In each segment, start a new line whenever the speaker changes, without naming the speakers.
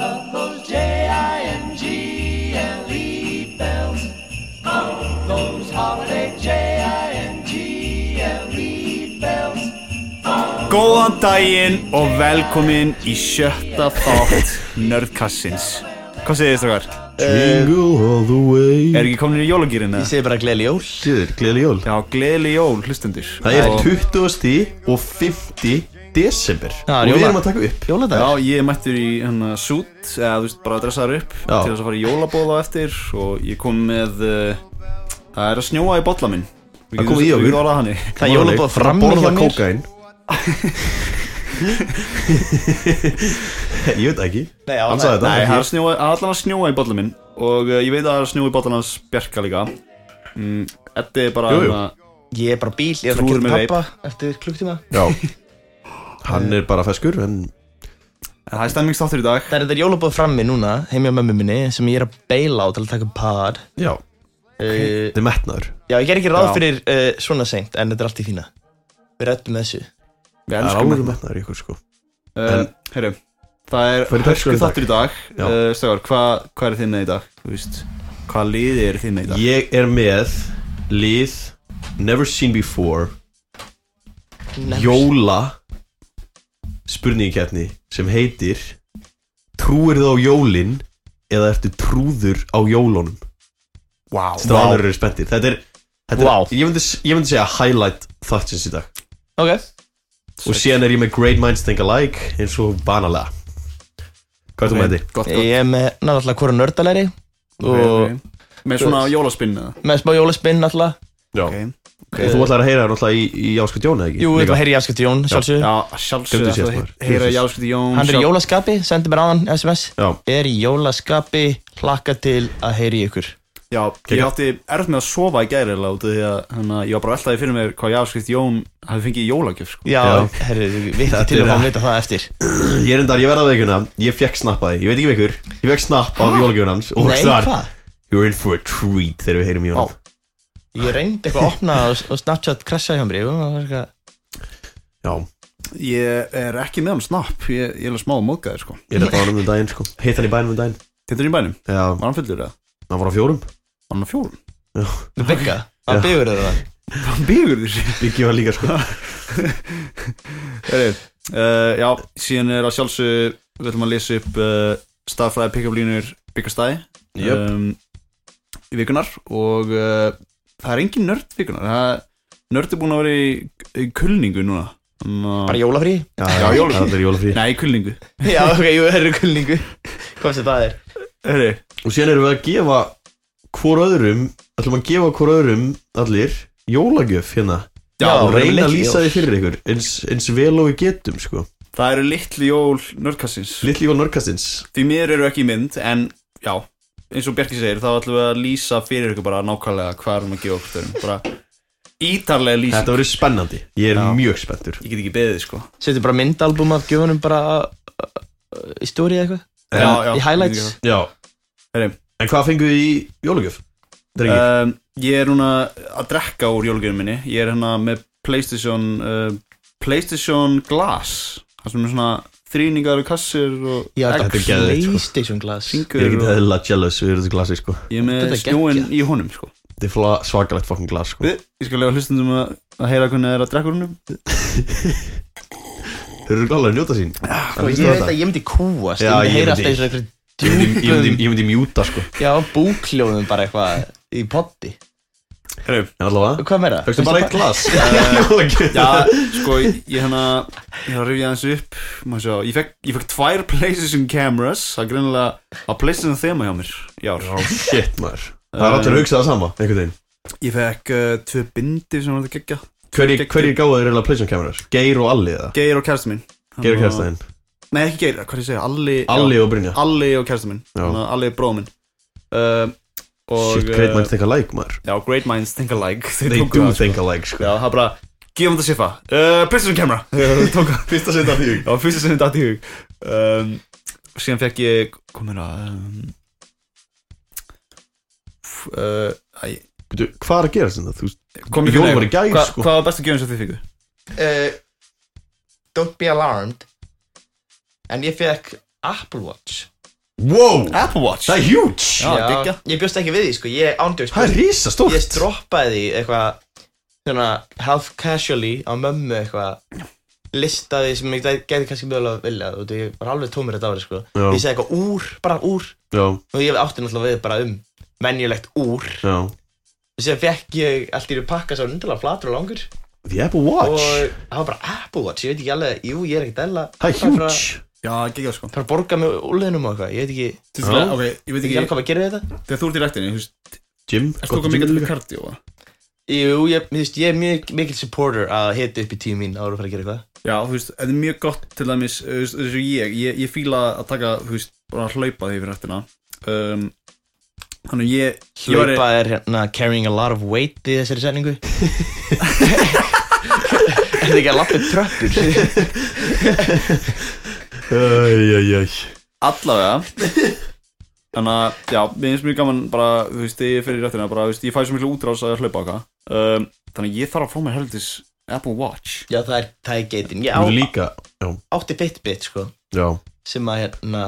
love those J-I-N-G-L-E E bells. Hum those holiday J-I-N-G-L-E E bells.
Góðan daginn og velkomin í sjötta þátt Nerdkassins Hvað segir þið strákar?
Jingle all the way
Er ekki komin í jólagýrin eða?
segi bara gleyli jól
Sýður, gleðileg jól
Já, gleðileg jól, hlustendur
Það er
Og-
20. og 50. desember
Já,
Og
jóla.
við erum að taka upp
Jóladag
Já, ég er mættur í hérna sút eða þú veist, bara dressaður upp
Já.
til þess að fara í jólabóð á eftir og ég kom með uh, það er að snjóa í bolla minn Við
Það
getum-
kom í
við
okkur.
getum orðað þannig.
Það er jólaboð frammi hjá
Borða
mér.
kókain Ég veit það ekki
Nei, já,
Hann sagði þetta
Nei,
ekki.
það er að snjóa, það er allan að snjóa í bolla minn og uh, ég veit að það er að snjóa í bollan hans Bjarka líka mm, Þetta er bara
Jú, jú.
hérna-
Ég er bara bíl, ég er að
Trúður
gera
með
pappa eftir klukktíma
Já Hann er bara feskur en
en það er stemmingsstáttur í dag
Það er þetta jólabóð frammi núna, heimja mömmu minni sem ég er að beila á til að taka upp pod
Já,
uh,
þetta er metnaður
Já, ég ger ekki ráð
Já.
fyrir uh, svona seint en þetta er allt í fína Við rættum þessu
Við
Það er
elskum
alveg
þetta
metnaður í ykkur sko
uh,
En-
Herru, það
Hvað
er
er í dagskrá
hörsku
í dag?
þáttur í dag
Já.
uh, Stegar, hvað hva er þið með í dag? Þú veist, hvað liði er þið með í dag?
Ég er með lið Never Seen Before
Nefnst.
Jóla spurningkeppni sem heitir Trúir þú á jólin eða ertu trúður á jólunum
Vá
Stráður eru spenntir Þetta er, þetta
Vá.
er ég, myndi, ég myndi segja highlight þáttsins í dag
Ok,
Og síðan er ég með Great Minds Think Alike eins og banalega Hvað er þú með þetta?
Gott, gott
ég er með náttúrulega hvora nördalæri og
Ok, ok. Með svona jólaspinn eða?
með smá jólaspinn náttúrulega
Já,
Ok
og þú ætlar að heyra náttúrulega í, í Áskot Jón eða ekki?
Jú, við ætlum
Líka.
að heyra í Jaskut Jón, sjálfsög
Já,
Gleymdu
sjálfsög
síðast
að
maður.
heyra
Jesus.
Jáskviti Jón
Hann er í
sjálf-
jólaskapi, sendi mér á hann SMS
Já,
Er í jólaskapi, hlakka til að heyri ykkur
Já, ég átti erft með að sofa í gæri út af því að hana, ég var bara alltaf í fyrir mér hvað Jáskviti Jón hafi fengið í jólagjöf sko.
Já,
Já.
herru, vittu
Þetta
til
er
að
að-
hann vita það eftir
ég er endar, ég verða að veikuna Ég fekk snappaði, ég veit ekki veikur Ég fekk snapp af jólagjöfun hans og
Nei,
þar,
hvað?
You're in for a treat þegar við heyrum í honum
Ég reyndi eitthvað að opna og, og Snapchat krassaði hjá mér og það var eitthvað-
Já,
Ég er ekki með hann snapp Ég, ég er alveg smá móðgæðir sko.
Ég lefði á hann um daginn sko Hitt hann í bænum um daginn
Þetta er í bænum,
Já,
var hann fullur eða?
hann var á fjórum
Var hann á fjórum?
Þú byggja, það
Já.
byggur þau það
Hann byggur þér
Byggi var líka sko
Herri, uh, já, síðan er að sjálfsög við ætlum að lesa upp uh, staðfræði pick-up-línur byggastæði
Jöp.
um, í vikunar og uh, það er engin nörd vikunar það, nörd er búin að vera í, í kulningu núna
Bara
um,
jólafrí
Já,
Já, jólafrí.
Það er jólafrí
Nei, kulningu
Já, ok, jú, herru, kulningu Hvað sem það er
Herri,
Og síðan erum við að gefa Hvor öðrum Ætlum að gefa hvor öðrum Allir Jólagjöf hérna
já,
Já.
Og
það eru
reyna að
litli
lýsa
jól.
því fyrir ykkur eins, eins vel og við getum sko
það eru litli jól nördkassins
Lilli jól nörgastins
Því mér eru ekki í mynd, en já eins og Bjarki segir, þá ætlum við að lýsa fyrir ykkur bara nákvæmlega hvað erum að gefa okkur erum bara ítarlega lýsa
Þetta verður spennandi Ég er
Já.
mjög spenntur
Ég get ekki beðið sko
Setjum bara myndalbum af gjöfunum bara uh, uh, í stóri eða eitthvað Í highlights
Já
Herri.
En hvað fenguð þið í jólagjöf? Drengi
um, Ég er núna að drekka úr jólugjöfum minni Ég er hérna með Playstation uh, Playstation Glass Það sem er svona þrýningar og kassir og
Já,
egg.
þetta
þetta
er geðveikt, sko.
Playstation glass
Ég er
Hringur
ekki
og
eðla jealous Við erum þetta glasi sko
ég er með
Þetta er
snúin
geggjað.
í honum sko
Þetta er fla- svakalegt fokkin glas sko
Við- Ég skal lega hlustundum að, að heyra hvernig það er að drekka úr húnum
Þeir eru glálega að njóta sín
Sko, ég veit að ég myndi kúast Ég
Já,
myndi
ég myndi-
heyra alltaf eins og eitthvað
Ég myndi, ég myndi,
djúpum
ég myndi mjúta sko
Já, búkljóðum bara eitthvað í poddi
Herru,
En allavega
Hvað meira?
Fækstu bara eitt glas
Já, sko, ég hérna Ég hérna rifja þessu upp má sjá, Ég fekk, ég fekk tvær Playstation cameras Það er greinilega að Playstation þema hjá mér Já,
Shit maður Það er allir að hugsa það sama Einhvern veginn
Ég fekk uh, tvö bindi sem var þetta geggja
Hverjir hverjir gáðu þér eiginlega Playstation kamerar? Geir og Alli eða?
Geir og kærasta mín
Geir og Kerstæðin
Nei, ekki Geir, hvað er ég að segja? Alli
Alli
já,
og Brynja
Alli og kærasta mín
Já.
Þannig að Alli er bróð minn uh, og,
Shit,
uh,
great minds think alike maður
Já, great minds think alike Þeir
They
tóku
do
það, sko.
think alike sko
Já, það er bara Gefum þetta siffa uh, Playstation camera Þau tóku það.
Fyrsta setja því
Já, fyrsta sem þetta í hug um, Síðan fekk ég Hvað meira um, f- uh, æ,
Hvað er að gera þetta? Þú
Kom ég
Jól var í gær,
Hva,
sko.
Hvað var bestu gjöfum sem þið fengu?
uh, Don't be alarmed En ég fekk Apple Watch
Wow,
Apple Watch
það er huge
Já, diggja.
ég bjóst ekki við því sko, ég ándjóks
Það er risastórt
ég droppaði því eitthvað svona half casually á mömmu eitthvað listaði sem ég gæti gæti kannski mögulega að vilja og ég var alveg tómur þetta árið sko
Já.
ég segi eitthvað úr, bara úr
Já,
og ég átti náttúrulega við bara um venjulegt úr
já
og sér fekk ég allt í því pakka svo undarlega flatur og langur
The Apple Watch
og það var bara Apple Watch, ég veit ekki alveg, jú ég er ekkert dæla
Það er huge
Já, ekki sko
bara að borga með úliðnum og eitthvað, ég veit ekki ég
Til þess að- Ok, ég veit
veit ekki alveg
ekki
hvað maður gerir við þetta
Þegar þú ert í rættinni, þú veist
Jim,
Erst þú
gott
okkur mikið um
gym
til
líka.
kardió?
Jú, ég, ég, ég, ég er mjög mikil supporter að hita upp í tíu mín ára að fara að gera eitthvað
Já, þú veist, þetta er mjög gott til dæmis þú veist, Þessu ég, ég, ég fíla að taka Þú veist, bara að hlaupa því fyrir rættina um, Þannig að ég ég var-
Hlaupa er hérna carrying a lot of weight í þessari setningu Er þetta ekki að lappa upp tröppur?
Æj, æj, æj
Allavega Þannig að, já, mér finnst mjög gaman bara, þú veist, þegar ég fyrir rættina bara, þú veist, ég fæ svo miklu útrás að hlaupa okkar um, Þannig að ég þarf að fá mér heldis Apple Watch
Já það er, það er geitin Ég á,
Hún er líka Já,
átti Fitbit sko
já
sem að hérna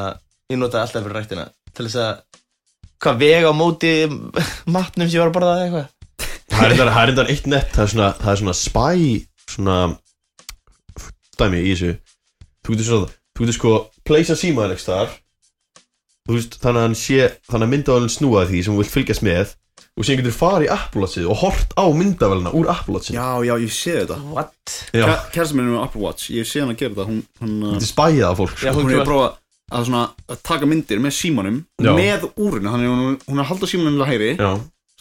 ég notaði alltaf fyrir rættina til þess að hvað vega á móti matnum sem ég var að borða eða eitthvað
Það er reyndar- það er reyndar eitt nett Það er svona, það er svona spy Svona Dæmi í þessu Þú getur svona Þú getur sko Place að síma þér ekki þar Þú veist Þannig að hann sé Þannig að myndavelin snúa því Sem hún vil fylgjast með Og síðan getur farið í Apple Watchið Og hort á myndavelina úr Apple Watchið
Já, já, ég sé þetta
What?
Já.
Kærsa minn er með Apple Watch, ég sé hann að gera þetta Hún, hún,
Þetta er spæðið af fólk
Já,
sko.
hún, er
hún var-
að prófa að, svona, að taka myndir með símanum
Já.
með úrinu, þannig að hún, hún er að halda símanum til hægri,
Já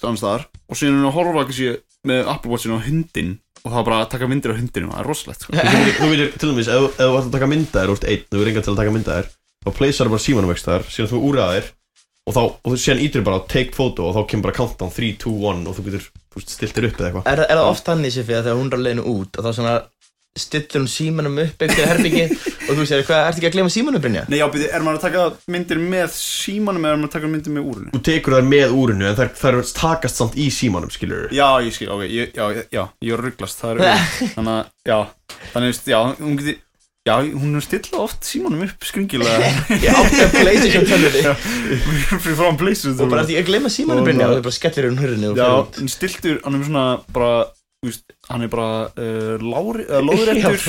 stannast þar og síðan er hún að horfa ekki sé með Apple Watchinu á hundin og það er bara að taka myndir á hundinu, það er rosalegt sko.
Þú getur- Þú getur til dæmis Ef ef þú ert að taka mynda þér Þú ert einn Þú er engan til að taka mynda þér Þá pleysar bara símanum ekki þar Síðan þú úr að þér Og þá Og þú síðan ítur bara á Take photo Og þá kemur bara countdown 3, 2, 1 Og þú getur Þú veist stilt þér upp eða eitthvað
Er, er það oft hann í sér fyrir að þegar hún er á leiðinu út og þá svona stillur hún símanum upp eitthvað herbyggi og þú segir hvað, ertu ekki að glema símanum Brynja?
Nei, já, byrju, er maður að taka myndir með símanum eða er maður að taka myndir með úrinu?
þú tekur þær með úrinu en þær, þær takast samt í símanum skilur
Já, ég skil, ok, ég, já, ég- já, ég er rugglast, það er auðvitað Þannig að, já, þannig að, já, hún geti, já, hún er stilla oft símanum upp skringilega
Ég átti að PlayStation tölvunni
Fyrir frá hann pleysur
og bara ertu ekki að glema símanum
Og
Brynja
bara-
og þú bara skellir hún hurðinu og
Já,
fyrir
en stiltur, hann er svona bara, þú veist, hann er bara uh, lári, uh, lóðrættur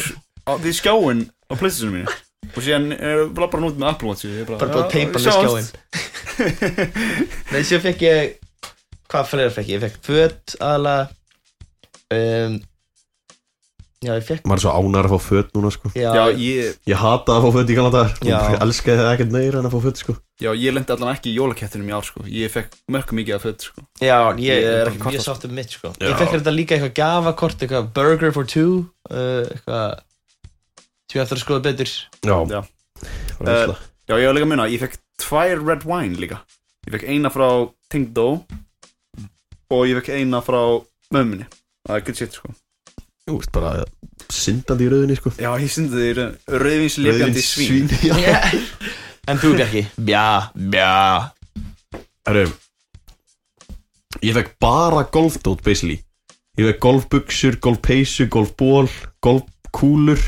á- við skjáin á playstation mínu og síðan er uh, bara "Ah, nút með Apple Watch ég er
bara búið að
já,
teipa hann í
sjáumst.
skjáin Nei, sér fekk ég hvað fleira fekk ég? Ég fekk föt aðalega um, Já, ég fekk
maður er svo ánar að fá fött núna sko
Já,
Já,
ég,
ég,
ég hata að fá fött í kannan dagar
Já.
ég elskaði það ekkert meira en að fá fött sko
já, ég lendi allan ekki í jólakettinum í ár, sko Ég fekk mörg mikið af fött, sko
já, ég,
Ég er
er
ekki
mjög
kvartast.
sátt um mitt sko
Já.
Ég fekk þetta líka eitthvað gafakort, eitthvað burger for two uh, eitthvað sem ég eftir að skoða betur
já,
Já. Eh,
Bara veisla.
Já, ég var líka að muna, ég fekk tvær red wine líka Ég fekk eina frá Tingdó og ég fekk eina frá mömminni Það er good shit, sko
þú veist bara syndandi í rauðinni sko
Já, ég syndi þér rauðvinslefjandi svín
Rauðvíns- svín já.
En þú ekki? Bja, bja
Herru, ég fekk bara golfdót basically ég fekk golfbuksur, golfpeysu, golfból golfkúlur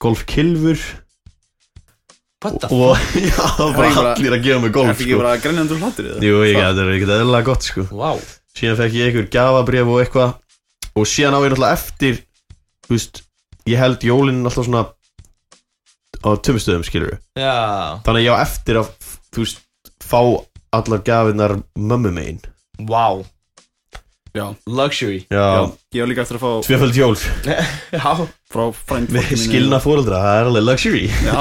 golfkilfur
What the fuck?
og já, það var bara
bara-
allir að gefa mig
Er
golf
þetta ekki
sko.
bara grænjandur hlátur í það?
jú, ég, þetta er ekkert eðlilega gott sko
Wow
síðan fekk ég einhver gafabref og eitthvað og síðan á ég náttúrulega eftir þú veist, ég held jólinn alltaf svona á tömstöðum skilur
Já,
þannig að ég á eftir að þú veist, fá allar gafinnar mömmu megin
wow
Já,
Luxury
já,
já,
ég var líka eftir að fá
tvefald jól
Já
frá frænd
með skilna fóreldra, það er alveg luxury
já,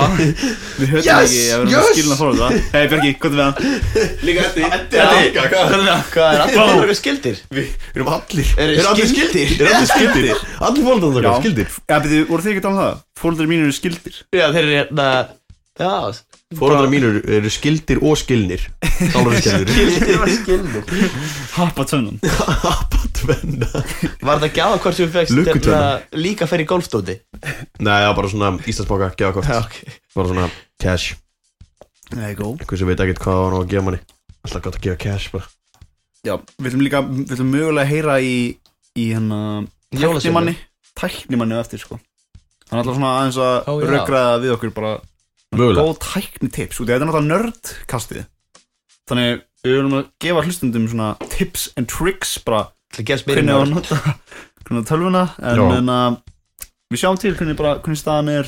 við höfum
Yes,
ekki að vera með
yes.
skilna fórhaldra hei Björki, hvað er með hann líka þetta
Eddi,
hvað er það
Hvað er alltaf að vera skildir?
við erum allir
Eru
Eru allir
skildir?
skildir? Eru allir skildir? allir fóreldra okkar skildir
já, betur, voru þið ekki að tala um það fórhaldri mínir eru skildir
Já, þeir eru hérna Já
fóreldra mínur eru skildir og skilnir alveg skildir
Skildir og skildir
hapa tönnan
Tvenna.
Var það gjáða hvort þú fegst
Lukkutvenna.
líka að fara í golfdóti?
Nei, já, bara svona Íslandsboka, gefa kort
ok
bara svona cash
nei, gó
einhver sem veit ekkert hvað hann á að gefa manni alltaf gott að gefa cash bara
já, við viljum líka, við viljum mögulega heyra í í hérna
Jólasveinu.
tæknimanni tæknimanni á eftir, sko hann er alltaf svona aðeins
Ó,
að
já.
rökraða við okkur bara
Mögulega
góð tækni tips út í að þetta er náttúrulega nördkastið þannig við viljum að gefa hlustundum svona tips and tricks bara
Það gefst mér
hvernig á að
mjög
nota hvernig á tölvuna en,
Já.
en að við sjáum til hvernig, bara, hvernig staðan er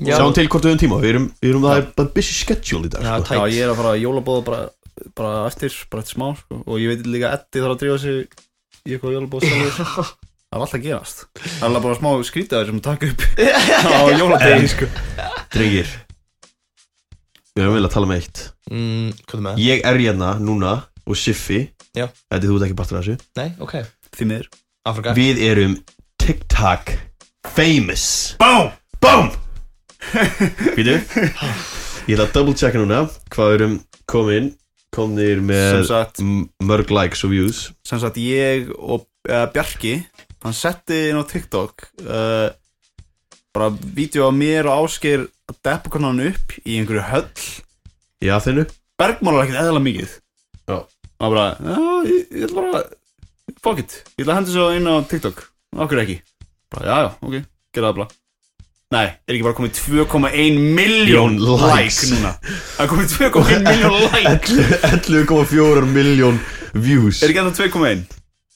Já.
Sjáum til hvort við höfum tíma Við erum, við erum það er bara busy schedule í dag
Já,
sko.
tæ- Tætt.
Já, ég er að fara að jólabóða bara, bara eftir, bara eftir smá sko. og ég veit líka að Eddi þarf að drífa sig í eitthvað jólabóða Það er alltaf að gerast Það er alveg bara smá skrítið sem takk upp á jóladegi sko.
Drengir Við erum vel að tala með um eitt
Mm, Hvað er með það?
Ég er hérna núna og Siffi
Já.
Þetta þú ert ekki partur af þessu
Nei, ok
Því miður
Afrika
Við erum TikTok famous
Bám!
BOOM Býtu Ég ætla að double checka núna Hvað við erum komin Komnir
Sem
með
sagt,
m- mörg likes og views
sem sagt ég og uh, Bjarki hann setti inn á TikTok uh, bara vídeo af mér og Ásgeir að deppa hvernig hann upp í einhverju höll
Í Aþenu
bergmálar ekkert eðla mikið
Já.
og hann bara, já, ég, ég ætla bara fuck it, ég ætla að henda svo inn á TikTok okkur ekki, bara, já, já, ok gera það bara Nei, er ekki bara komið 2,1 miljón
Jón,
like
likes.
núna Það er komið 2,1 miljón like
11,4 miljón views
Er ekki enda 2,1?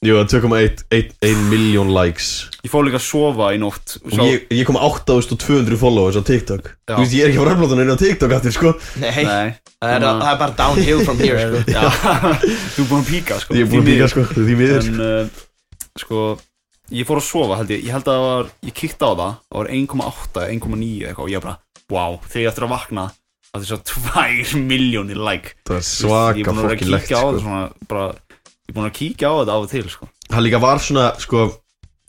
Jú, 2,1 miljón likes
Ég fór líka að sofa í nótt
Og ég, ég kom á 8200 followers á TikTok
Já.
Þú veist, ég er ekki að fara að upplota neina á TikTok aftur, sko
Nei,
Nei,
Það, er,
Núna-
það er bara downhill from here sko.
Já, þú er búin að píka sko
Ég er búin
Því
að bíka,
miður.
sko, því miður
En uh, sko, ég fór að sofa held ég Ég held að það var, ég kíkti á það Það var 1,8, 1,9 eða eitthvað Og ég bara, wow, þegar ég eftir að vakna Það er svo 2 miljónir like
Það er
Þú veist,
svaka fokkin lekt,
Ég er búin að vera að kíkja á
sko
þetta svona bara, Ég er búin að kíkja á þetta af og til sko
hann líka var svona, sko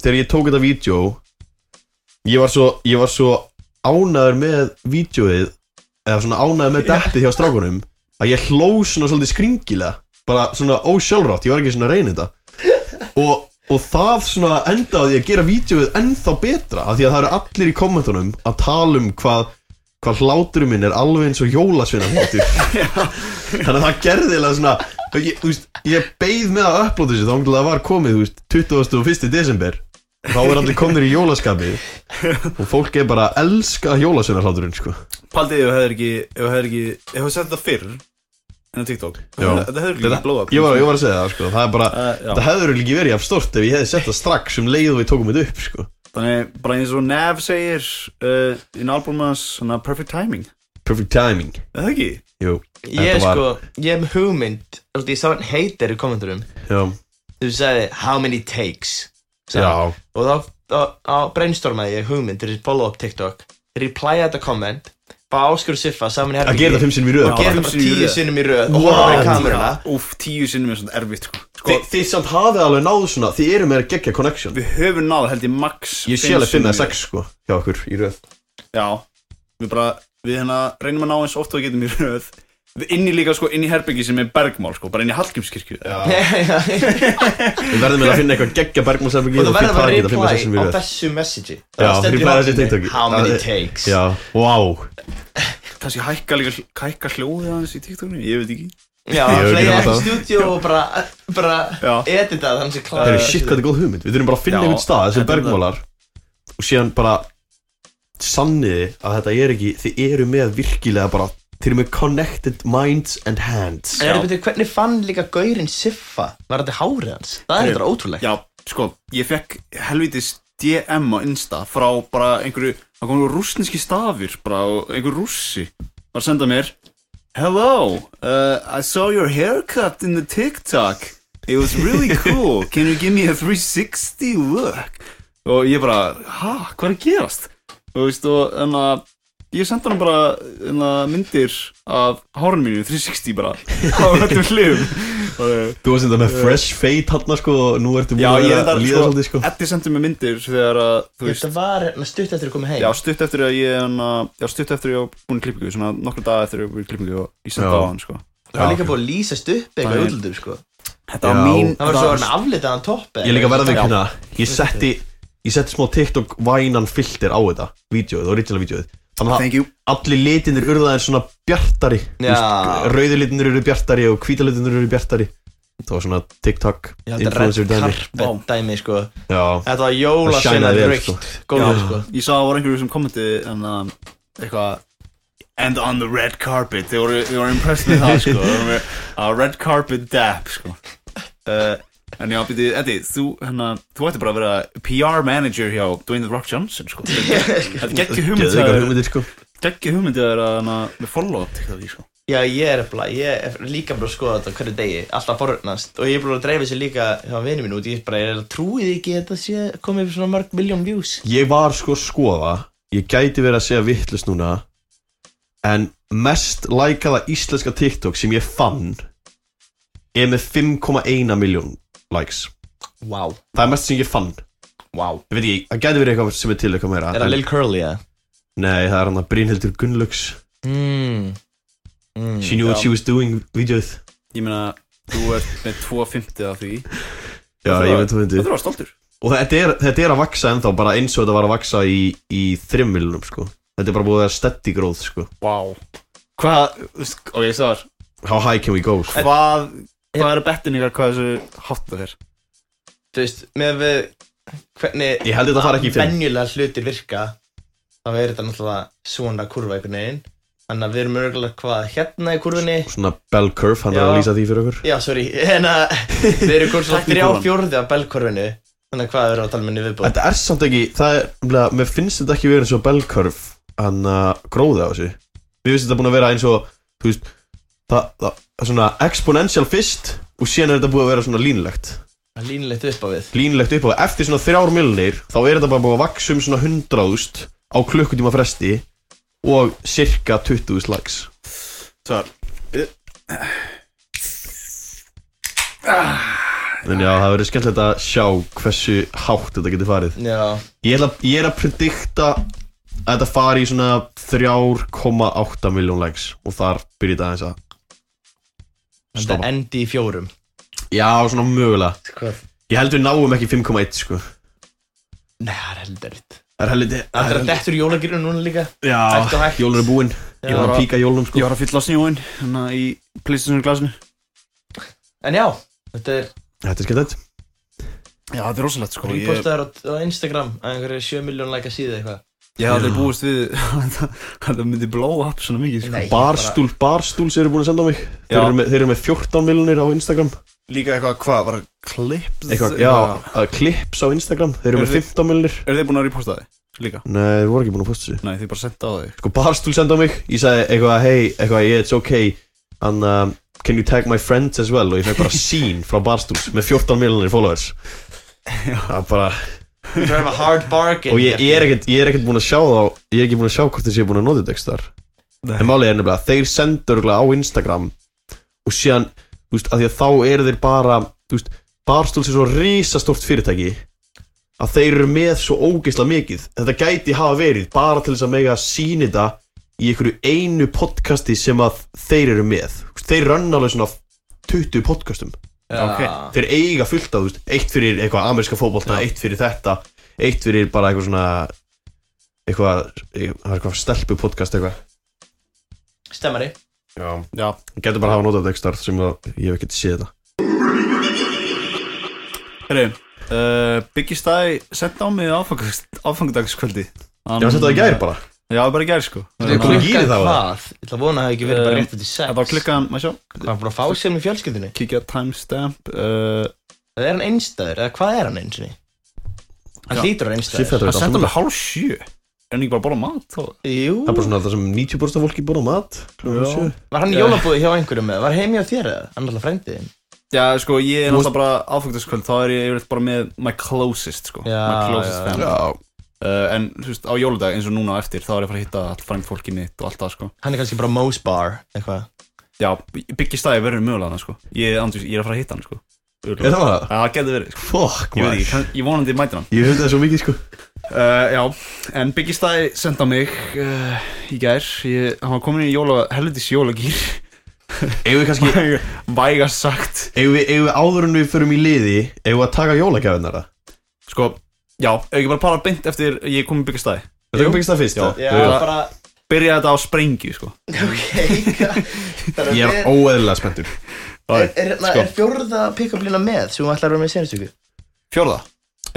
þegar ég tók þetta vídeo ég var svo, ég var svo ánæður með vídeoið eða svona ánæður með detti hjá strákunum að ég hló svona svolítið skringilega bara svona ósjálfrátt, ég var ekki svona að reyna þetta og, og það svona endaði á því að gera vídeoið ennþá betra af því að það eru allir í kommentunum að tala um hvað hvað hláturum minn er alveg eins og jólasvinna hlátur þannig að það gerði eða svona ég, þú veist, ég beið með að upplóta þessu þá um til það var komið þú veist, 21. desember þá er allir komnir í jólaskapi og fólk er bara að elska jólasvinna hláturinn sko.
Paldið, ef þú hefur ekki, ef þú hefur ekki Ef þú hefur sett þetta fyrr En á TikTok
Já.
Þetta hefur ekki blóð upp
ég, var, ég var að segja það sko. það er bara
Eh, já.
Það hefur ekki verið jafn stort ef ég hefði sett það strax um leið og við tókum þetta upp sko.
Þannig, bara eins og Nev segir uh, In albumans, svona perfect timing
Perfect timing
Er það ekki?
Jú,
Ég
þetta var-
sko, ég hef hugmynd Þú veist, Ég sá hann heitir í kommenturum
já,
Þú sagði, how many takes sagði hann.
já,
Og þá, þá, þá brainstormaði ég hugmynd Til þess follow up TikTok Replya þetta comment Bara áskur og siffa saman í
að
herbergi.
gera það fimm sinni í röð
Já.
bara.
Gerðu
fimm
bara
sinnum í
tíu
röð.
sinnum í röð Og horfa í kameruna
Úf, tíu sinnum er svona erfitt sko. Sko,
Þi, Þið samt hafið alveg náðu svona Þið eru með að gegja connection
Við höfum náð held ég max
Ég sé
fimm
alveg
sinnum
finna
í
sex sko hjá okkur í
röð.
röð
Já, við bara, við hérna reynum að ná eins oft og við getum í röð Við inn í líka sko, inn í herbyggi sem er bergmál sko, bara inn í Hallgrímskirkju
Við verðum að finna eitthvað geggja bergmálsefningi
Og það verður bara reply á þessu messagei
Já,
Það stendur í
reply á þessu
horninu,
TikToki.
How many
Það er-
takes
Já, wow
Kannski hækka líka, hækka hljóðið hans í TikTokinu, ég veit ekki
Já,
Ég hef ekki
flega
notað
ekki
það.
stúdíu og bara, bara
Já.
edita það þannig sem
Það
klára
er shit hvað þetta er góð hugmynd Við þurfum bara að finna
Já,
einhvern stað sem
þetta er
bergmálar Og síðan bara Sanniði að þetta er ekki Þið eru með virkilega bara Þið eru með connected minds and hands
En
Já.
erum við hvernig fann líka gaurinn Siffa? Var þetta hárið hans? Það er
Ég-
þetta ótrúlegt
Já, sko, ég fekk helvitis DM á Insta frá bara einhverju, það kom einhverju rúsneski stafir bara og einhverju rússi var að senda mér Hello, uh, I saw your haircut in the TikTok It was really cool, can you give me a 360 look? Og ég bara, ha, hvað er að gerast? Og veist, og en að ég sendi hann bara en að myndir af hárun mínu, 360 bara á öllum hliðum og eh,
Þú varst þetta með fresh fade hann sko Og nú ertu búin
Já,
að
ég
vera
reyndar,
að líða
sko,
svolítið sko
Eddi sendi mér myndir þegar að, þú veist,
Þetta var na, stutt eftir að koma heim
já, stutt eftir að ég, hana, já, stutt eftir að ég var búin í klippingu, svona nokkru daga eftir að ég var búin í klippingu og ég sendi
Já.
á hann, sko.
Það var
Já.
líka búið að lýsast upp eitthvað
Það er-
útlundur sko
Þetta
Já.
var mín,
Það var svo hann aflitaðan topp
Ég líka verði
Já.
ekki hérna Ég setti Ég setti smá TikTok vænan filter á þetta Vídeóið, original vídeóið Þannig að
"Ah, thank you,
allir litinir urðaðin svona bjartari
Já.
Rauði litinir eru bjartari og hvíta litinir eru bjartari Það var svona TikTok
Já, þetta er
influencer
red
dæmi
carpet dæmi sko
Já,
Þetta var
Það
jólasveina
shinaði vel,
reykt Góður sko
ég sá að það var einhverju sem kommenti, en að, eitthvað, um, And on the red carpet Þau voru, þau voru impressed með það sko Þau voru, uh, Red carpet dap sko uh, En já, býttu, Eddi Þú, hérna, þú ætti bara að vera PR manager hjá Dwayne The Rock Johnson sko Þetta geggju hugmynd
Geðveikar
þegar-
hugmyndir sko
Geggju hugmynd þegar að hana Við follow up til það því sko
Já, ég er, bla, ég er líka bara að skoða þetta á hverju degi, alltaf forröðnast og ég er bara að dreifa sér líka hjá vinnu mín út ég er bara, ég er að trúið ekki að þetta sé komið upp svona mörg miljón views
Ég var sko að skoða Ég gæti verið að segja vittlust núna En mest lækaða íslenska TikTok sem ég fann Er með 5,1 miljón likes
Wow,
Það er mest sem ég fann
wow
Ég veit ekki, það gæti verið eitthvað sem er til eitthvað meira
Er það
en-
Lil Curly eða?
Nei, það er hann að Brynhildur Gunnlaugs
Mm. Mm.
She knew what she was doing videoð
Ég meina, þú ert með 2.50 af því
Já,
Það
ég
var-
veit hvað
Þú
fyndi
þurfa að stoltur
Og þetta er, þetta er að vaksa ennþá bara eins og þetta var að vaksa í, í þrimmiljunum sko Þetta er bara búið að vera steady growth sko
Wow Hvað, þú veist, ok, Svar
How high can we go sko
Hvað, hvað eru bettin ykkar hvað þessu hátt það er?
Þú veist, með við hvernig
Ég held þetta fara ekki í fimm
venjulega hlutir virka þá er þetta náttúrulega svona kurva einhvern veginn þannig að við erum örgulega hvað hérna í kurvinni
Svona bell curve, hann er
Já.
að lýsa því fyrir okkur
Já, sorry, en að við erum komið svona
Takk í
þrjá
kúrfan.
fjórði af belgkurvinu þannig að hvað erum við að tala um minni viðbúð
Þetta er samt ekki, það er, umlega, mér finnst þetta ekki verið eins og bell curve Hann að gróða á þessu Mér finnst þetta búin að vera eins og, þú veist Það, það, það svona exponential fyrst Og síðan er þetta búið að vera svona línlegt
Það er línilegt upp á við
Línlegt upp á það, eftir svona þrjár milnir Þá er þetta bara búið að vaksa um svona hundraðust Á klukkutíma fresti Og cirka 20 slags
Svar
En já, það verður skemmtilegt að sjá hversu hátt þetta getur farið
Já,
Ég, ætla, ég er að predikta að þetta fari í svona 3,8 miljón likes og þar byrja þetta aðeins að
þetta
Stoppa.
endi í fjórum
Já, svona mögulega
Hvað?
Ég held við náum ekki 5,1 sko
Nei, það er heldur eitt
Það er helviti
Það er dettur jólagirinu núna líka hægt og
Já,
hægt.
jólun er búinn Ég var að píka jólunum
Ég
sko
var að fylla snjóin Þannig að í Playstation glasinu
En já, þetta er
Þetta er skemmtilegt
Já, þetta er rosalegt sko Ég,
repostaður á, á Instagram að einhverju 7 miljón læka síðu eitthvað
ég hafði búist við að það myndi blow up svona mikið sko.
Nei.
Barstúl, barstúls eru búin að senda á mig
Já.
Þeir eru, með, þeir eru með 14 miljonir á Instagram
Líka eitthvað, hvað, var það klipp?
Eitthvað, já, að klips á Instagram Þeir eru
Eru
með
þið-
15 miljonir
Er þið búin að reposta þið? Líka
Nei, þeir voru ekki búin að posta þessu
Nei, þið bara senda á þig
sko barstúl senda á mig ég sagði eitthvað hey, eitthvað yeah, it's okay and um, can you tag my friends as well og ég fekk bara sín frá barstúls með 14 miljonir followers Það er bara,
Drive a hard bargain
og ég, ég er ekkert ég er ekkert búinn að sjá þá ég er ekki búinn að sjá hvort þessi er búinn að nota þetta ekstar
Nei.
en málið er nefnilega að þeir senda örugglega á Instagram og síðan þú veist að því að þá eru þeir bara þú veist barstúls er svo risastórt fyrirtæki að þeir eru með svo ógeðslega mikið þetta gæti hafa verið bara til þess að mega sýni þetta í einhverju einu podcasti sem að þeir eru með Þú veist, þeir rönna alveg svona 20 podcastum
Já.
Ok.
þeir eiga fullt af, þú veist, eitt fyrir eitthvað ameríska fótbolta, eitt fyrir þetta eitt fyrir bara eitthvað svona eitthvað, það er eitthvað stelpu podcast eitthvað
Stemmari
Já.
Já
getur bara að hafa notað þetta ekstar sem að ég hef ekkert séð þetta
Herri, uh, Byggistæði senda á mig aðfangast- aðfangadagskvöldi
ég var að setja það í gær bara
Já, bara í gær sko
Ég kom
Þetta
í gírið þá, eða?
Hvað? Ég ætla að vona að það hafi ekki verið bara
Um,
rétt eftir sex
var klikkaðan, maður sjá
Hvað er búin að fá sér með fjölskyldinu?
Kíkja á timestamp uh,
Það er hann einstæður, eða hvað er hann eins og Hann
Já.
hlýtur að
Ég fer
vera einstæður
þetta
Það
allt
senda
saman.
alveg hálf sjö Er hann ekki bara að borða mat þá?
Jú,
það er bara svona það sem 90% af fólki borða mat klukkan
Já.
sjö.
var hann í
Já.
jólabúði hjá einhverjum eða? Var heimi á þér eða? Hann er alltaf frændið þinn
Já, sko, ég er
Þú veist-
náttúrulega bara aðfugtaskvöld Þá er ég yfirleitt bara með my closest, sko
Já,
My closest
já,
family
Já.
uh, En, þú veist, á jóludag eins og núna á eftir Þá er ég að fara að hitta allt frænd fólki mitt og allt það, sko
Hann er kannski bara Moe's Bar, eitthvað
Já, byggi staði verður mögulega hann, sko Ég, andjús, ég er að fara að hitta hann, sko
er það bara?
Já, Það getur verið, sko
fuck
Ég veit
maður.
ekki, kann- ég vonandi mætir hann
ég hef þetta svo mikið sko
uh, Já, en Biggie Stæði senda mig uh, í gær ég, Hann var komin í jóla, helvitis jólagýr
eigum við kannski
Vægast sagt
eigum við, eigum við áður en við förum í liði eigum við að taka jólagjafinara
Sko, já, ef ekki bara para beint eftir ég kom í byggastæði
er það byggst það fyrst
Já.
Þú-
bara
Byrja þetta á sprengju, sko
Ok
Ég er óeðlilega spenntur
Er, er, er,
sko.
er fjórða pick-up lína með sem þú ætlar að vera með í senast viku?
Fjórða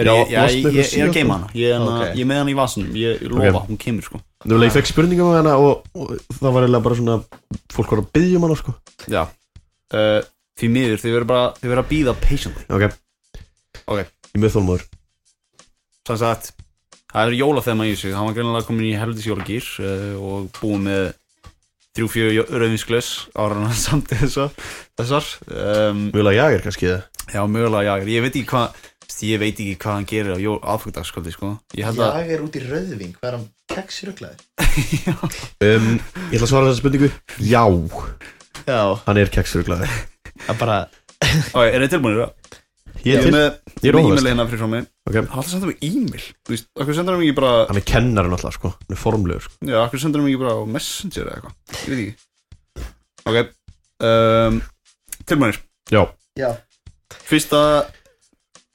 Já, ég,
varstu
ég,
eitthvað
ég, er
síðast?
að geima hana Ég, er
Ok.
okay. ég er með hana í vasanum, ég lofa,
Ok.
hún kemur sko
Nefnilega ég fekk spurningar með hana og, og það var eiginlega bara svona Fólk var að byggja um hana sko
Já uh, Því miður, þið verður bara, þið verður að býða patiently
Ok
Ok.
Ég er með þólmaður
Sanns að það er jólaþema í þessu Hann var greinlega komin í helvitis jólagýr uh, og búin með þrjú, fjöru rauðinsklaus ára hann samt þessar, þessar. Um,
Mjögulega ég er kannski það
Já, mögulega jager, ég veit ekki hvað ég veit ekki hvað hann gerir á jól aðfugdagskvöldi sko. ég held að
er út í rauðving, hvað er hann keksiruglaður?
um, Ég ætla að svara þessa spurningu Já Hann
Já,
er keksruglaði
það bara
Ó, er þið tilbúinir?
Ég er
er
til
með
Ég er
með
óhæðast
e-mail hérna fyrir frá mig
Ok
Hann sendur mig e-mail Þú veist, okkur sendur hann mig ekki bara
Hann er kennarinn alltaf sko Hann er formlegur sko
Já, okkur sendur hann mig ekki bara á Messenger eða eitthvað Ég veit ekki Ok um, Tilbúinir
Já
Já,
Fyrsta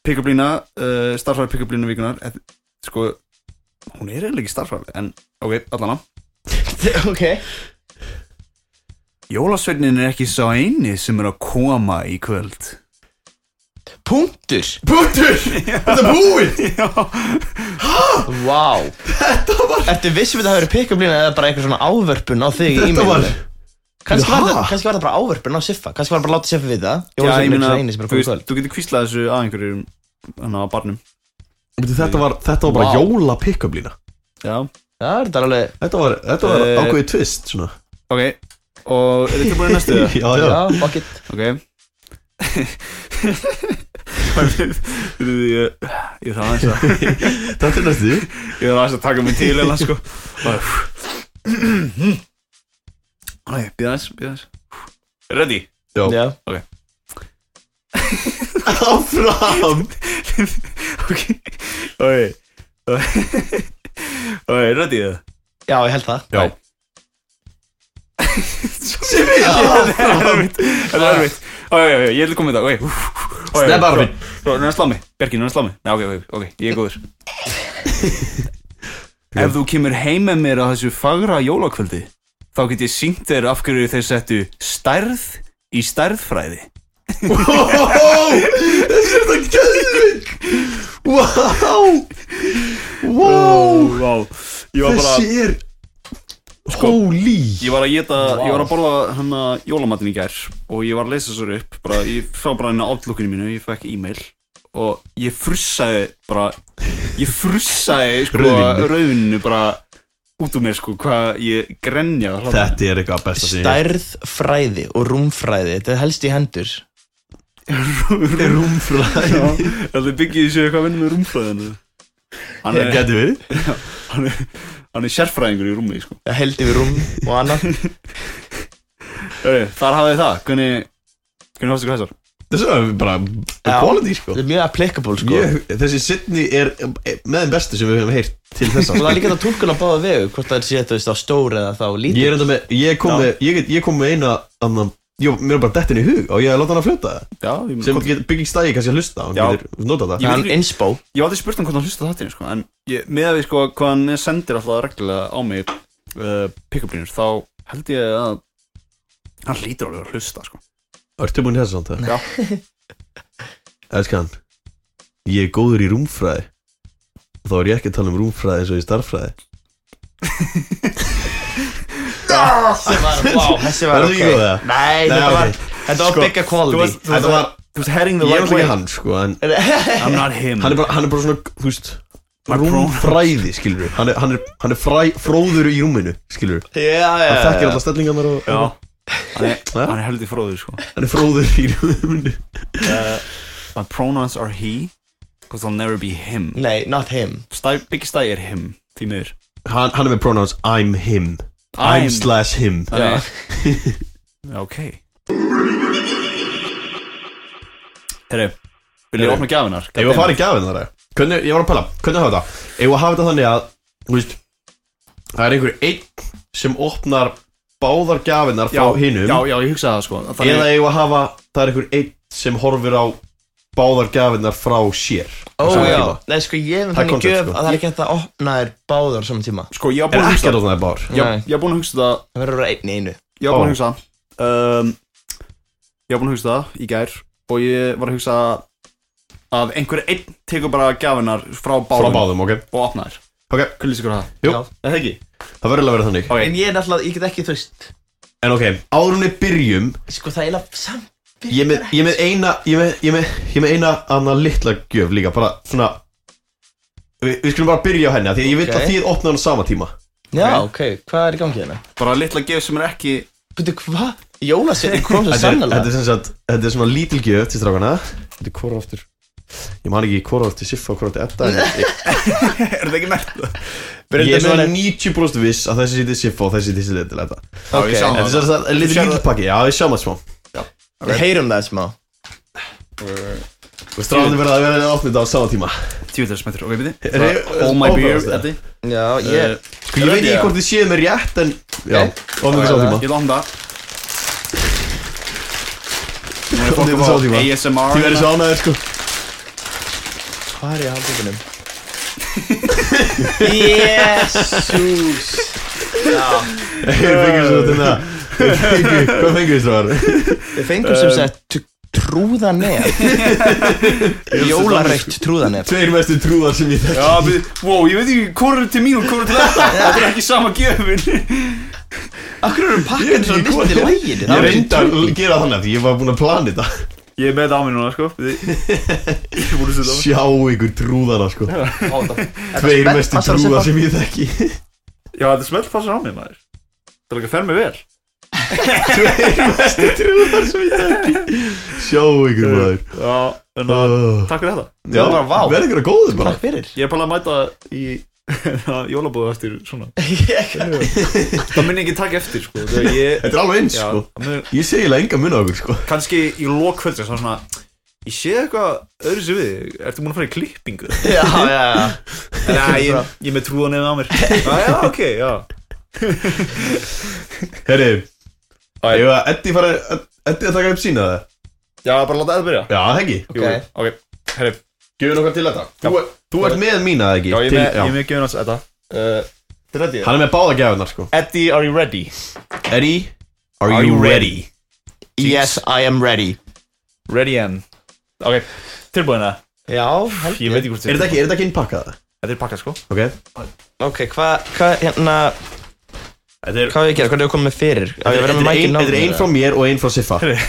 pick-up lína uh, Starfræði pick-up lína vikunar Eh, Sko, hún er eiginlega ekki starfræði En, ok, allana
Ok
Jólasveitnin er ekki sá eini sem er að koma í kvöld
Punktur
Bútur Þetta er búið
Já
Vá wow.
Þetta var
Ertu vissum við að það hefur pick-up lína eða bara eitthvað svona ávörpun á þig í
Þetta var
e-mailinu? Kannski var,
Ha?
það, kannski var það bara ávörpun á Siffa Kannski var það bara að láta Siffa við það
Já, ég
Jólasveinn er
meina,
svo eini sem er að koma
þú
í
veist,
kvöld
þú getur kvíslað þessu að einhverjum hann á barnum
Bíddu, Þetta var Þetta var bara
Vá.
jóla pick-up lína
Já,
Já, þetta er alveg
Þetta var, þetta var
Eh.
ákveðið twist svona
ok Og er þetta bara næstu það?
Já, já,
Já, fuck it
Ok Ég ég þarf aðeins að
Þetta er næstu
Ég þarf aðeins að taka mig til eða sko Bara- Ok, býða aðeins, býða aðeins Ready?
Já,
Já
áfram
Ok Ok Ok, ready það?
Já, ég held það
Já,
Simi Þetta er erfitt Þetta er erfitt Ó, já, já, já, Ég er komið þetta Ok Ó, já, já,
Sneppa,
svo-
Arfinn.
svo, Núna slámi Bjarki, núna slámi Nei, ok, ok, ok Ég er góður Ef þú kemur heim með mér á þessu fagra jólakvöldi þá get ég syngt þér af hverju þeir settu stærð í stærðfræði
Wow Wow
Vá Ég var bara Sko-
Þessi er Holy
Ég var að geta, ég var að borða hana jólamatinn í gær og ég var að lesa þessar upp bara, ég fá bara hérna outlookinu mínu, ég fekk e-mail og ég frussaði bara, ég frussaði sko
Rauðvíninu.
rauðinu bara út úr mér sko hvað ég grenja
Þetta er eitthvað besta sem ég
Stærð fræði og rúmfræði Þetta er helst í hendur
Þetta er rúmfræði
Þetta byggir þessu eitthvað að vinna með rúmfræðinu Hann
Það
er,
getur verið
hann er, hann er sérfræðingur í rúmi sko
Það held yfir rúm og annað
Heyrðu, Þar hafið þið það, hvernig, hvernig hafstu hvað þessar?
Þessu er bara
Já.
quality sko
Þetta er mjög applicable sko
Ég, þessi Sydney er eh, með þeim bestu sem við höfum heyrt til sko. þess
Og það er líka þetta túlkun á báða vegu Hvort það er sétt þú veist á stór eða þá lítið
Ég er enda með, ég kom með, ég, get- ég kom með eina annan, jó, mér er bara dettin í hug og ég hef láta hann að fljóta það
Já, ég,
Mm.
sem get, bygging stæði kannski að hlusta, hann
Já.
getur notað það
Ég-
Hann inspo
Ég var aldrei spurt hann hvort hann hlusta þáttinu sko, en ég, með að við sko hvað hann sendir alltaf reglulega á mig uh, pick-up-línur, þá held ég að hann hlýtur alveg að hlusta sko.
Ertu búinn í þessu samt það?
Já.
Elskan, ég er góður í rúmfræði og þá er ég ekki að tala um rúmfræði eins og í starffræði
Þessi var, wow, þessi var
Var það
ok
ekki góð eða?
Nei, þetta
ok.
var, þetta var
Sko,
bigger quality
Þú veist
Þetta var,
Þú veist, herring the
ég er
right
alveg
way
ekki hann sko en
I'm not him
hann er bara, hann er bara svona, þú veist
My pronouns.
rúmfræði, skilur við hann er, hann er, hann er fræ, fróður í rúminu, skilur við
Já,
Eh,
já,
hann þekkir
já
alltaf stellingarnar og
Já Hann er,
Ja.
hann er heldur fróður sko
hann er fróður í rúminu
My pronouns are he Because I'll never be him
Nei, not him
Stæ, Biggie Stæ er him Því miður
hann, hann er með pronouns I'm him
I'm-
I'm slash him
Já Ok Herru Vil ég
Heyrðu.
opna gjafinar?
Ef að fara í gafin þar eða? Hvernig, ég var að pæla, hvernig hafa þetta? Ef að hafa þetta þannig að, þú veist Það er einhver einn sem opnar báðar gafinnar frá hinum
Já, já, ég hugsaði það sko Þannig-
Eða ef að hafa, það er einhver einn sem horfir á báðar gafinnar frá sér
Ó,
Á sama
já
tíma.
Nei, sko, ég hef
Það er
þannig
koncept,
gjöf
sko.
að það er ekki hægt að opna þér báðar á saman tíma
Sko, ég var
Er
búin að
ekki
hugsa
að opna þér báðar
Ég
Nei.
ég var búin að hugsa það
Það verður að vera einn í einu
Ég var búin
Ó.
að hugsa Ehm, það um, Ég var búin að hugsa það í gær Og ég var að hugsa að einhver einn tekur bara gafinar frá
frá
báðum,
báðum, ok
og opnar
Ok,
Kulli sigur það
jú,
Já.
Er það ekki?
það verður að vera þannig
Ok,
En ég er náttúrulega, ég get ekki, þú veist
En ok, árunni byrjum
Sko það er eiginlega samt
Ég er með, ég er með eina Ég er með, ég er með, ég er með eina annað litla gjöf líka Bara svona Við, við skulum bara byrja á henni af Því að ég vil
Ok.
að þið opna hann á sama tíma
Já, ok, hvað er í gangi hérna?
bara litla gef sem er ekki
Veitu hvað? Jólasettin kom svo
Þetta er, þetta
sannlega
er sem sagt, þetta er svona lítil gjöf til strákana Þetta er hvora aftur Ég man ekki hvora aftur Siffa og hvora aftur Edda en ég-
Er það ekki mert? Já,
Ég
Brynda
er svona
Mjölin- 90%
90% viss að þessi sýtti Siffa og þessi sýtti Little Edda
Ok,
ég sá
Þetta er
það
sem sagt
Þú
lítil
sérð
lítil
það.
pakki Já, við sjáum að smá
við heyrum það smá
Og strákana verða að vera að opna þetta á sama tíma
Tjúður smettur, ok, beti
Er-
Oh my
opnaðist
beer,
það?
Eddi
Já,
Eh,
ég
Sko, Ég veit ekki hvort þið séu mér rétt en Já,
Ok.
opna þetta á sama tíma
Ég landa Nú er
Opna
fólk að
þetta á sama
fá
tíma
ASMR
Þið verður
hérna?
svo ánæður sko
Hvað er í handtökunum? Jésús
Þeir fengið svo þetta Þeir fengu- Hvað fengið þið strákar?
Við fengum
Eh.
sem sagt trúðanef
sko.
Jólarreitt trúðanef
Tveir mestu trúðar sem ég þekki
Já, beti, wow, ég veit ekki hvort er til mín og hvort er til þetta Þetta er ekki sama gefin
Akkur eru
Ég
pakkan
veit
svo
ekki
nýtt
hvort-
í lægin
Ég reyndi að gera þannig af því ég var búin að plana þetta
Ég er með þetta á mér núna, sko beti. Ég er búin að setja á mig
Sjá ykkur trúðana sko Tveir
Þetta er
mestu
spennpassa að
trúðar
setja.
sem ég þekki
Já, þetta smelt passar á mig, maður Það er ekki að fer mig vel
Tveir mestu trúðar sem ég þekki Sjá ykkur maður
Já, en að,
Ah.
takk fyrir þetta
Já,
bara vá.
verð ykkur að góðu bara
Takk fyrir
Ég er bara að mæta í jólabóðu eftir svona Það minni ekki takk eftir, sko Þegar ég,
Þetta er alveg eins
já,
sko
það mun-
Ég segi eiginlega enga mun á ykkur sko
kannski í lók kvöldsins Það svona, ég sé eitthvað öðru sem við Ertu múin að fara í klippingu?
Já, já, já
Nei, ég, ég er með trúan eða á mér Já, já, ok, já
Herri,
Æ.
ég var Eddi fara Eddi að taka upp sína það
Já, bara láta eða byrja
Já, það ekki
Jú,
Ok.
ok, herri
Gjöfum okkar til þetta Þú, þú ert með mína eða ekki
Já, ég er
Til-
með, ég er með gefin alls þetta uh, Þetta er
Hann er með báða gæfunar sko
Eddie, are you ready?
Eddie, are,
Are
you
you
ready?
Yes, I am ready
Ready and Ok, tilbúin það
Já, held
Ég veit ekki hvort
Er þetta ekki, er þetta ekki innpakkað?
Þetta er pakkað sko
Ok
Ok, hvað, hvað, hérna
Þetta er
Hvað á ég að gera, hvernig er komið fyrir? Á ég að vera
Þetta er
með mækinn
ein-
á
þetta er ein frá mér og ein frá Siffa
Herri.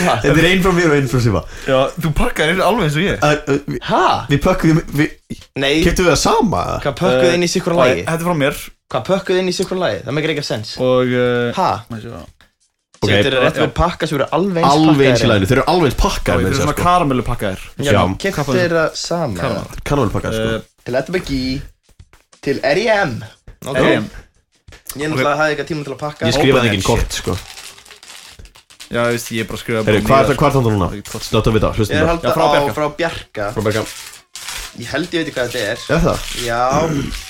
Þetta er ein frá mér og ein frá Siffa
Já, þú pakkaði inn alveg eins og ég
Uh, uh, vi-
Hæ?
Við pökkum Við
Nei,
Kæftum við það sama eða?
hvað pökkuð inn í sikkur lagi?
Þetta er frá mér
Hvað pökkuð inn í sikkur lagi? Það meikir ekki sens
Og uh,
Hæ?
Ok,
Þetta er rétt
já.
verið pakka sem eru alveg eins
Alveg eins í
pakkaðir
læginu Þeir eru alveg eins
Já, þetta er
pakkað með sko. þess
svona
að
karamellu pakkaðir
Já,
Já.
keftir þeirra sama
Karamellu
sko Kanólu pakkað sko
Eh,
uh,
Til Edda
E
McGee Til R.E.M.
E
Ok,
okay.
ég náttúrulega hafði eitthvað tíma til að pakka
Ég
Open
skrifaði engin
shit.
kort sko
Já, ég veist, ég er bara að skrifa
Herri, hvað er það hvar þannig núna?
Ég get kort.
Snáttu að vita,
Ég er að
hlustum það
halda
Já, frá
á
Bjarka.
frá Bjarka
Frá Beckham
Ég held ég veit hvað þetta er
Er það?
Já,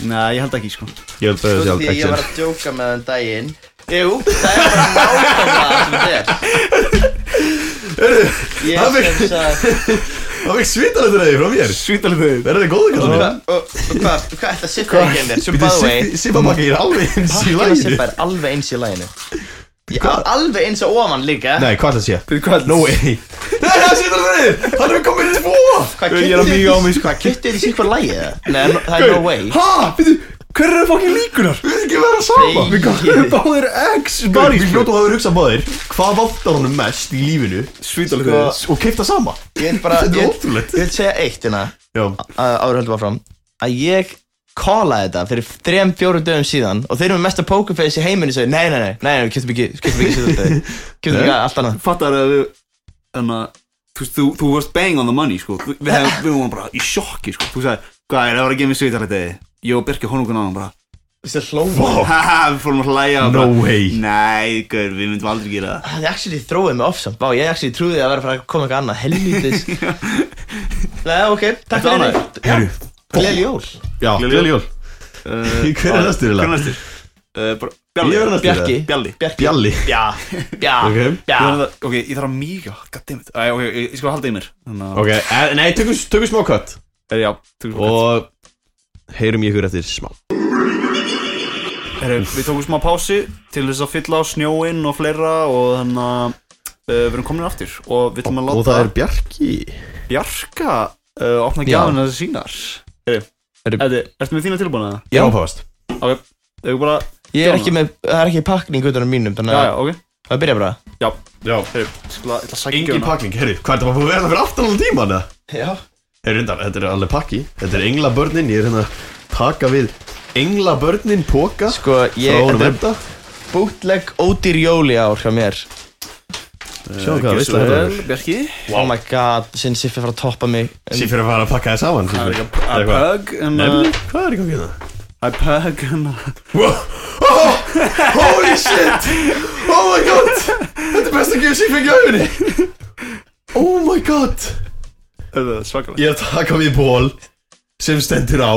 Nei, ég held ekki sko
Ég held að
þú
það sé
veist því að ég var
alveg
að djóka með þann daginn Jú, það er bara nákvæmlega það sem þetta er
það
Ég
er-
sem sagt
Það fikk svitalöður eða frá mér
Svítalið
Er það góðu
Og
kallar
hvað og- og hvað- hvað er þetta siffaðingin þér? Sem by the way
Sippa pakki er alveg eins í
Pakkina
læginu
siffa er alveg eins í læginu Ég-
Hvað?
Alveg eins og ofan líka
Nei, hvað það sé?
Þú hvað?
No way Það er það svitalöður Hann er komið tvo
Hvað
Ég er að míga á mig sko
Kittu þetta siffa lægi það? Nei, það er no way
Ha, veitu, hver eru fokkin líkunar?
Við erum ekki að vera saman
Nei.
Hvað eru báðir X
Gauður,
bodies,
Við
sko?
fljótu að hafa hugsað báðir Hvað vantar honum mest í lífinu Sko,
Svítalið
Og keipta sama
Ég vil bara
Þetta
Ég
er
ég
ótrúlegt
vil segja eitt hérna
Já
Áður höldum áfram Að ég Kólaði þetta fyrir 3-4 dögum síðan Og þeir eru með mesta pokerface í heiminu Segðu, nei, nei, nei, nei, nei, kjöptum ekki Kjöptum ekki síðan þetta Kjöptum ekki allt annað
fattar að við en að þú, veist, þú, þú varst bang on the money sko. við, við, hefum- við vorum bara í sjokki sko. þú sagði, hvað er það var að gefa mér svitalæti ég og Birkja honungun á hann bara
Þessi hlóma
haha, við fórum að hlæja og
Oh. No
bara,
way.
nei, gaur, við myndum aldrei gera það
Það er actually þróið mig ofsamt Vá, ég actually trúði að vera að fara að koma eitthvað annað Helvítis Nei, ok, takk
Ertu ánægður?
fyrir Já, Gleðileg jól
Já,
Gleðileg
gleðileg jól
uh,
Hver er næstur eiginlega?
hver er næstur? Uh, bara,
Ég
Bjalli
er næstur
Bjarki. Ah.
eða?
Bjalli
Bjarki
Bjalli
já,
Já,
Ok.
já
Ég verð að- ok, ég þarf að míga goddammit, Æ, ok, ég, ég skal halda í mér þannig að,
Ok, eh, nei, tökum, tökum smá kött
okay. já, tökum og,
Og heyrum ég ykkur eftir smá
Heru, við tókum smá pási til þess að fylla á snjóinn og fleira og þannig að uh, við erum komin aftur og við ætlum að
Og
láta
það er Bjarki
Bjarka uh, opna
Já.
gafina þessi sínar Heri,
Heyrðu.
Eddi, ertu með þína tilbúna?
Já, fást
Ok, þau bara
Ég er ekki með, það er ekki pakning utanum mínum, þannig
Já,
að
já, ok
það byrja bara
Já,
Já
heyri, skula, ég ætla að sækja
Engin
hana
pakning, herri, hvað er það maður búið að vera fyrir aftan alveg tíma hana?
Já
Herri, undan, þetta er alveg pakki Þetta er englabörnin, ég er hérna að taka við englabörnin póka
Sko, ég,
frá honum
þetta er
enda
bútleg ódýr jóli ár hjá mér
Eh,
Sjá hvað, veist það
Vel, Bjarki
Oh my god, sinn Siffi fara að toppa mig en,
Sýfir að fara að pakka þið saman
Það er
Sýfir.
ekki að
Eitthvað.
pug en að-
Nefnilega, Hvað er í gangi hérna?
að pug en eh, að
Holy shit Oh my god Þetta er besta gjöf sem ég fengi á henni Oh my god
Það er svakalega
Ég er að taka við ból sem stendur á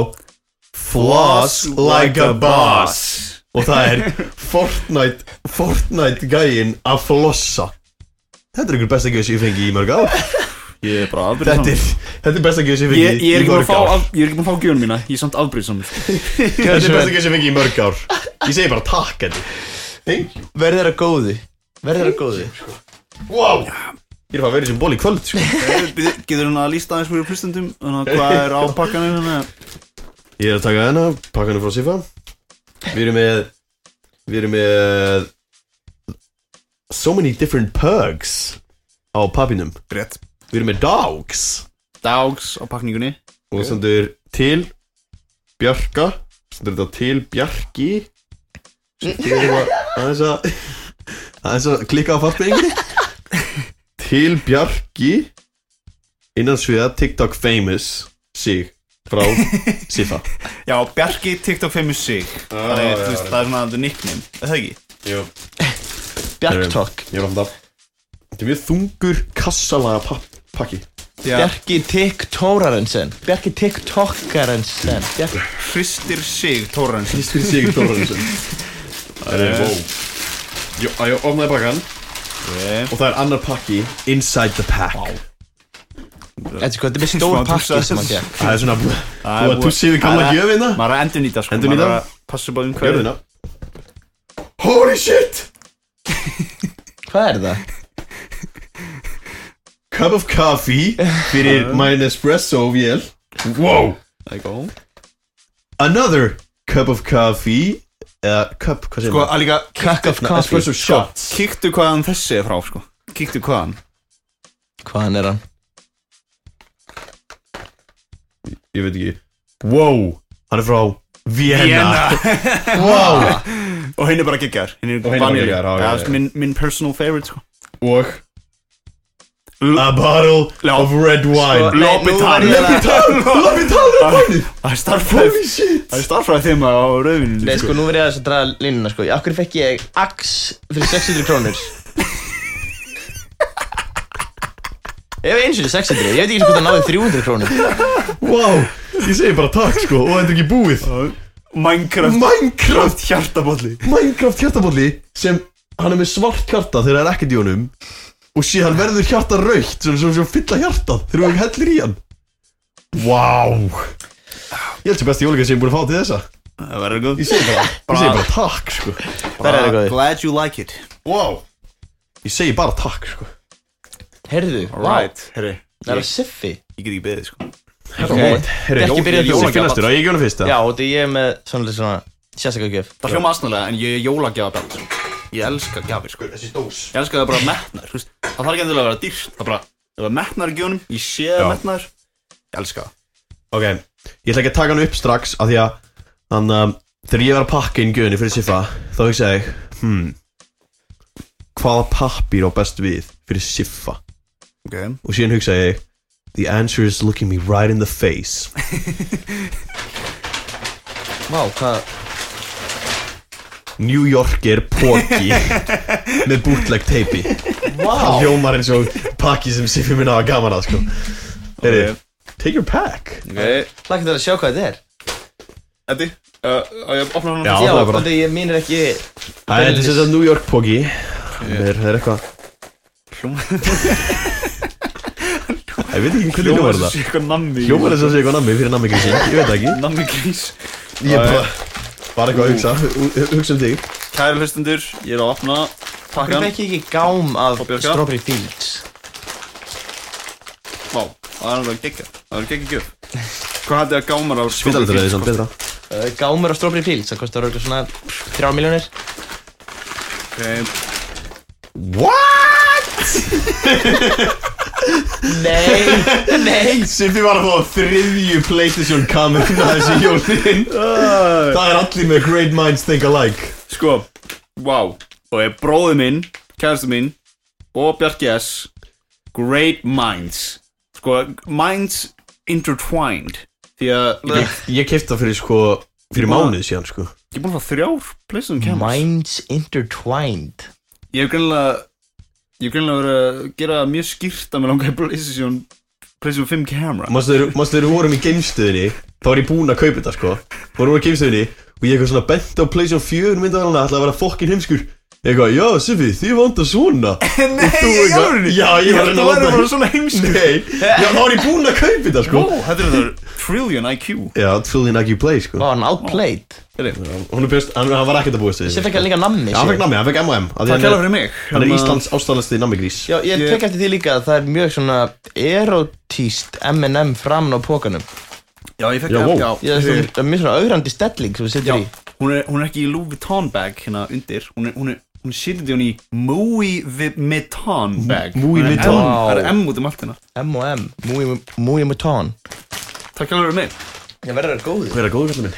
Floss like a boss Og það er Fortnite Fortnite gæinn að flossa Þetta er ykkur besta gjöf sem ég fengi í mörg ár
Ég er bara afbrýðsam
Þetta er, þetta er besta gjöf sem ég
Ég,
fengi
ég er
í
ekki búin að
mörg
fá,
ár
af, ég er ekki búin að fá gjöfun mína, ég er samt afbrýðsam
Þetta er besta gjöf sem ég fengi í mörg ár Ég segi bara takk Eddi Thank you
Verð þeirra góði Verð þeirra góði
Wow Ég er að fara að vera í sem ból í kvöld sko.
Getur hún að lísta aðeins fyrir plustundum Hvað er á pakkanum hérna?
Ég er að taka hana, pakka hana frá Sifa Við erum með Við erum með So many different perks Á pappinum
Rétt
Við erum með dogs
Dogs á pakningunni
Og það stendur til Bjarka Stendur þetta til Bjarki Sem þýðir eitthvað Aðeins að Aðeins að klikka á fartengli Til Bjarki Innan sviða TikTok famous Sig frá Sifa
Já, Bjarki TikTok 5 sig Þannig,
já,
þú veist,
já.
það er svona the nickname Er það ekki?
Jú
Bjarktok
Ehm, Ég er ofnda Þetta er mjög þungur kassalaga pa- pakki
Já,
Bjarki TikTokarensen Bjarki TikTokarensen Bjarki
Hristir sig, Torrens
Fyrst fyrir sig Þórarinsson Það
Ehm.
er wow Jó, að ég ofnaði pakkan Og það er annar pakki Inside the pack
Þetta er sko, þetta er með stór
Smá
pakki
dúsa.
sem hann gekk
Það er svona bú-
Það er
Búið að
búið-
tussi við gamla
Það er-
gjöfina
Maður er að endur nýta, sko
Endurnýta?
Maður er að passa upp á umhverju
Gjörðina Holy shit
Hvað er það?
Cup of coffee Fyrir my Nespresso vél Wow
Ehm. Það er góð
Another cup of coffee Eða cup, hvað segir
Sko,
maður?
að líka
Cup of
Na,
coffee
Espresso shots
Kíktu hvaðan þessi er frá, sko Kíktu hvaðan
Hvaðan er hann?
Ég veit ekki Wow Hann er frá Vienna Wow
Og henni er bara geggar Henni er
Og hinn er bara
vanilja
geggjaður, já, já,
Það er
já.
minn- minn personal favorite, sko
og A bottle of red
Sko,
wine
nei, nú
L'Hôpital.
verð ég að-
Lopital
Það er starfræð
shit
Það er starfræð þeim á rauðinu
Nei, sko, nú verð ég aðeins að draga línuna, sko Akkur fekk ég ax fyrir 600 krónur Ef eins og 600, ég veit ekki hvort það náði 300 krónur
Wow, ég segi bara takk sko og þetta er ekki búið
Minecraft
Minecraft
hjartabolli
Minecraft hjartabolli sem hann er með svart hjarta þegar það er ekkert í honum og sé hann verður hjarta raukt sem sem, sem fylla hjartað þegar hann hellir í hann Wow Ég held sem besti jólika sem ég er búin að fá til þessa
Það verður góð
Ég segi bara, ég segi bara takk sko
Það er góð
Glad you like it
Wow Ég segi bara takk sko
Herðu,
Alright Herri
það er að siffi
Ég get ekki beðið sko
Ok.
Herri,
Bjarki, byrjaðu þú.
Jónaki næstur, að ég gjóna fyrst eða?
Já, og þetta ég er með svona, svona sérstaklega gjöf
Það hljóma aðsnaðlega en ég er jólagjafabell sko. Ég elska gjafir sko
Þessi dós
Ég elska það bara metnar sko. Það þarf ekki endilega að vera dýrt Það bara Það var metnar í gjónum Ég sé
Já.
það metnar Ég elska það
Ok, ég ætla ekki að taka hann upp strax af því að þannig að þegar ég var að pakka inn gjöðinni fyrir Siffa þá hugsaði ég, hmm hvaða pappir á best við fyrir Siffa
Ok
og síðan hugsaði ég The answer is looking me right in the face
Vá, hvað
New Yorker póki með bootleg teipi Það
Vá
hljómar eins og pakki sem Siffi minna hafa gaman að sko Heyri, take your pack
Ok
Lagt þetta að sjá hvað þetta er
Eddi uh, Á ég að opna hann
Já.
Já,
það er
og
bara-
þetta ég mínir ekki
Æ, Þetta er sem sagt New York póki Það er, það er eitthvað Ég veit ekki hvernig hljómar það
Eitthvað nammi
Hljómar þess að segja eitthvað nammi fyrir nammi grísin, ég veit það ekki
Nammi grís
Ég bara, bara eitthvað að hugsa, hu- hu- hugsa um þig
Kæri hlustendur Ég er að opna Takk
Hvernig
hann
fekk ég ekki gám af
Og Björka?
Strawberry Fields?
Vá, það er alveg geggja Það er geggja gjöf Hvað hætti að gámar á
Svítaldur er því samt betra
Uh, gámur af Strawberry Fields, það kostar örgulega svona 3 miljónir.
Ok,
Nei, nei,
Siffi var að fá þriðju Playstation kameruna þessi jólinn Það er allir með Great Minds Think Alike
sko Vá Og ég bróði minn, kærastu mín Og Bjarki S Great minds Sko, minds intertwined Því að ég
Ég, ég kefti það fyrir sko Fyrir mánuð síðan sko
er búin að fá þrjár Playstation cameras
Minds intertwined.
Ég hef greinlega Ég hef greinlega verið að gera það mjög skýrt að mér langaði Playstation Playstation 5 camera
Manstu þegar- manstu þegar við vorum í geimstöðinni Þá var ég búinn að kaupa þetta sko Vorum við í geimstöðinni Og ég eitthvað svona bent á Playstation 4 myndavæluna Ætlaði að vera fokkin heimskur Ég eitthvað, já Siffi, þið vanda svona
Nei,
Þú eitthvað, já ég var að reyna að
láta
láta
svona heimsku
Nei, já þá var ég búinn að kaupa þetta sko
Ó, þetta er þetta Trillion IQ
Já, trillion IQ play sko
Vá, hann outplayed.
Hún er best, hann, hann var ekkert að búast við
Sér fekk hann líka nammi
Já, hann fekk nammi, hann fekk M&M af því
Takk
hann er-
hella fyrir mig
Hann er
Hérna,
Íslands ástæðanasti nammigrís
Já, ég
Ég-
tek eftir því líka að það er mjög svona erotíst M&M framan á pókanum.
Já, ég fekk
Já, wow.
það
Já, það er svona- mjög svona augrandi stelling sem við
Já,
setjum í.
hún er, hún er ekki í Louis Vuitton bag hérna undir Hún er, hún er, hún er sýrði hún í Moui Vuitton bag
Moui
Hún er
Vuitton.
M- Það er M út um allt hérna
M&M, Mui- Mui Mouton.
Takk hella fyrir mig
Ég verður að góðu.
Hver er góður kallum minn?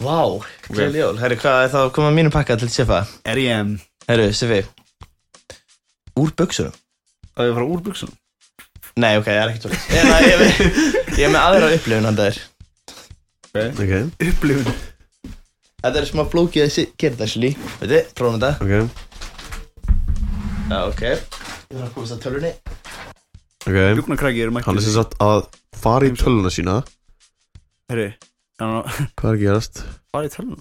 Vá, til jól. Herru, hvað er þá að koma að mínu pakka til Siffa?
R.E.M.
Herru, Siffi. Úr buksunum?
Það er að fara úr buksunum
Nei, ok, það er ekkert svolítið. Ég, nei, ég, er með- ég er með aðra upplifun hann þær.
Ok,
Upplifun
Þetta er smá flókið að si- gera þetta slí. Veit þið, prófum þetta.
ok,
Já, ok. Ég þarf að komast að tölunni.
ok
Bjúknarkræki eru
Hann
mættir
er sem sagt að fara í töluna sína
Herri, hann er að
Hvað er að gerast?
fara í tölunum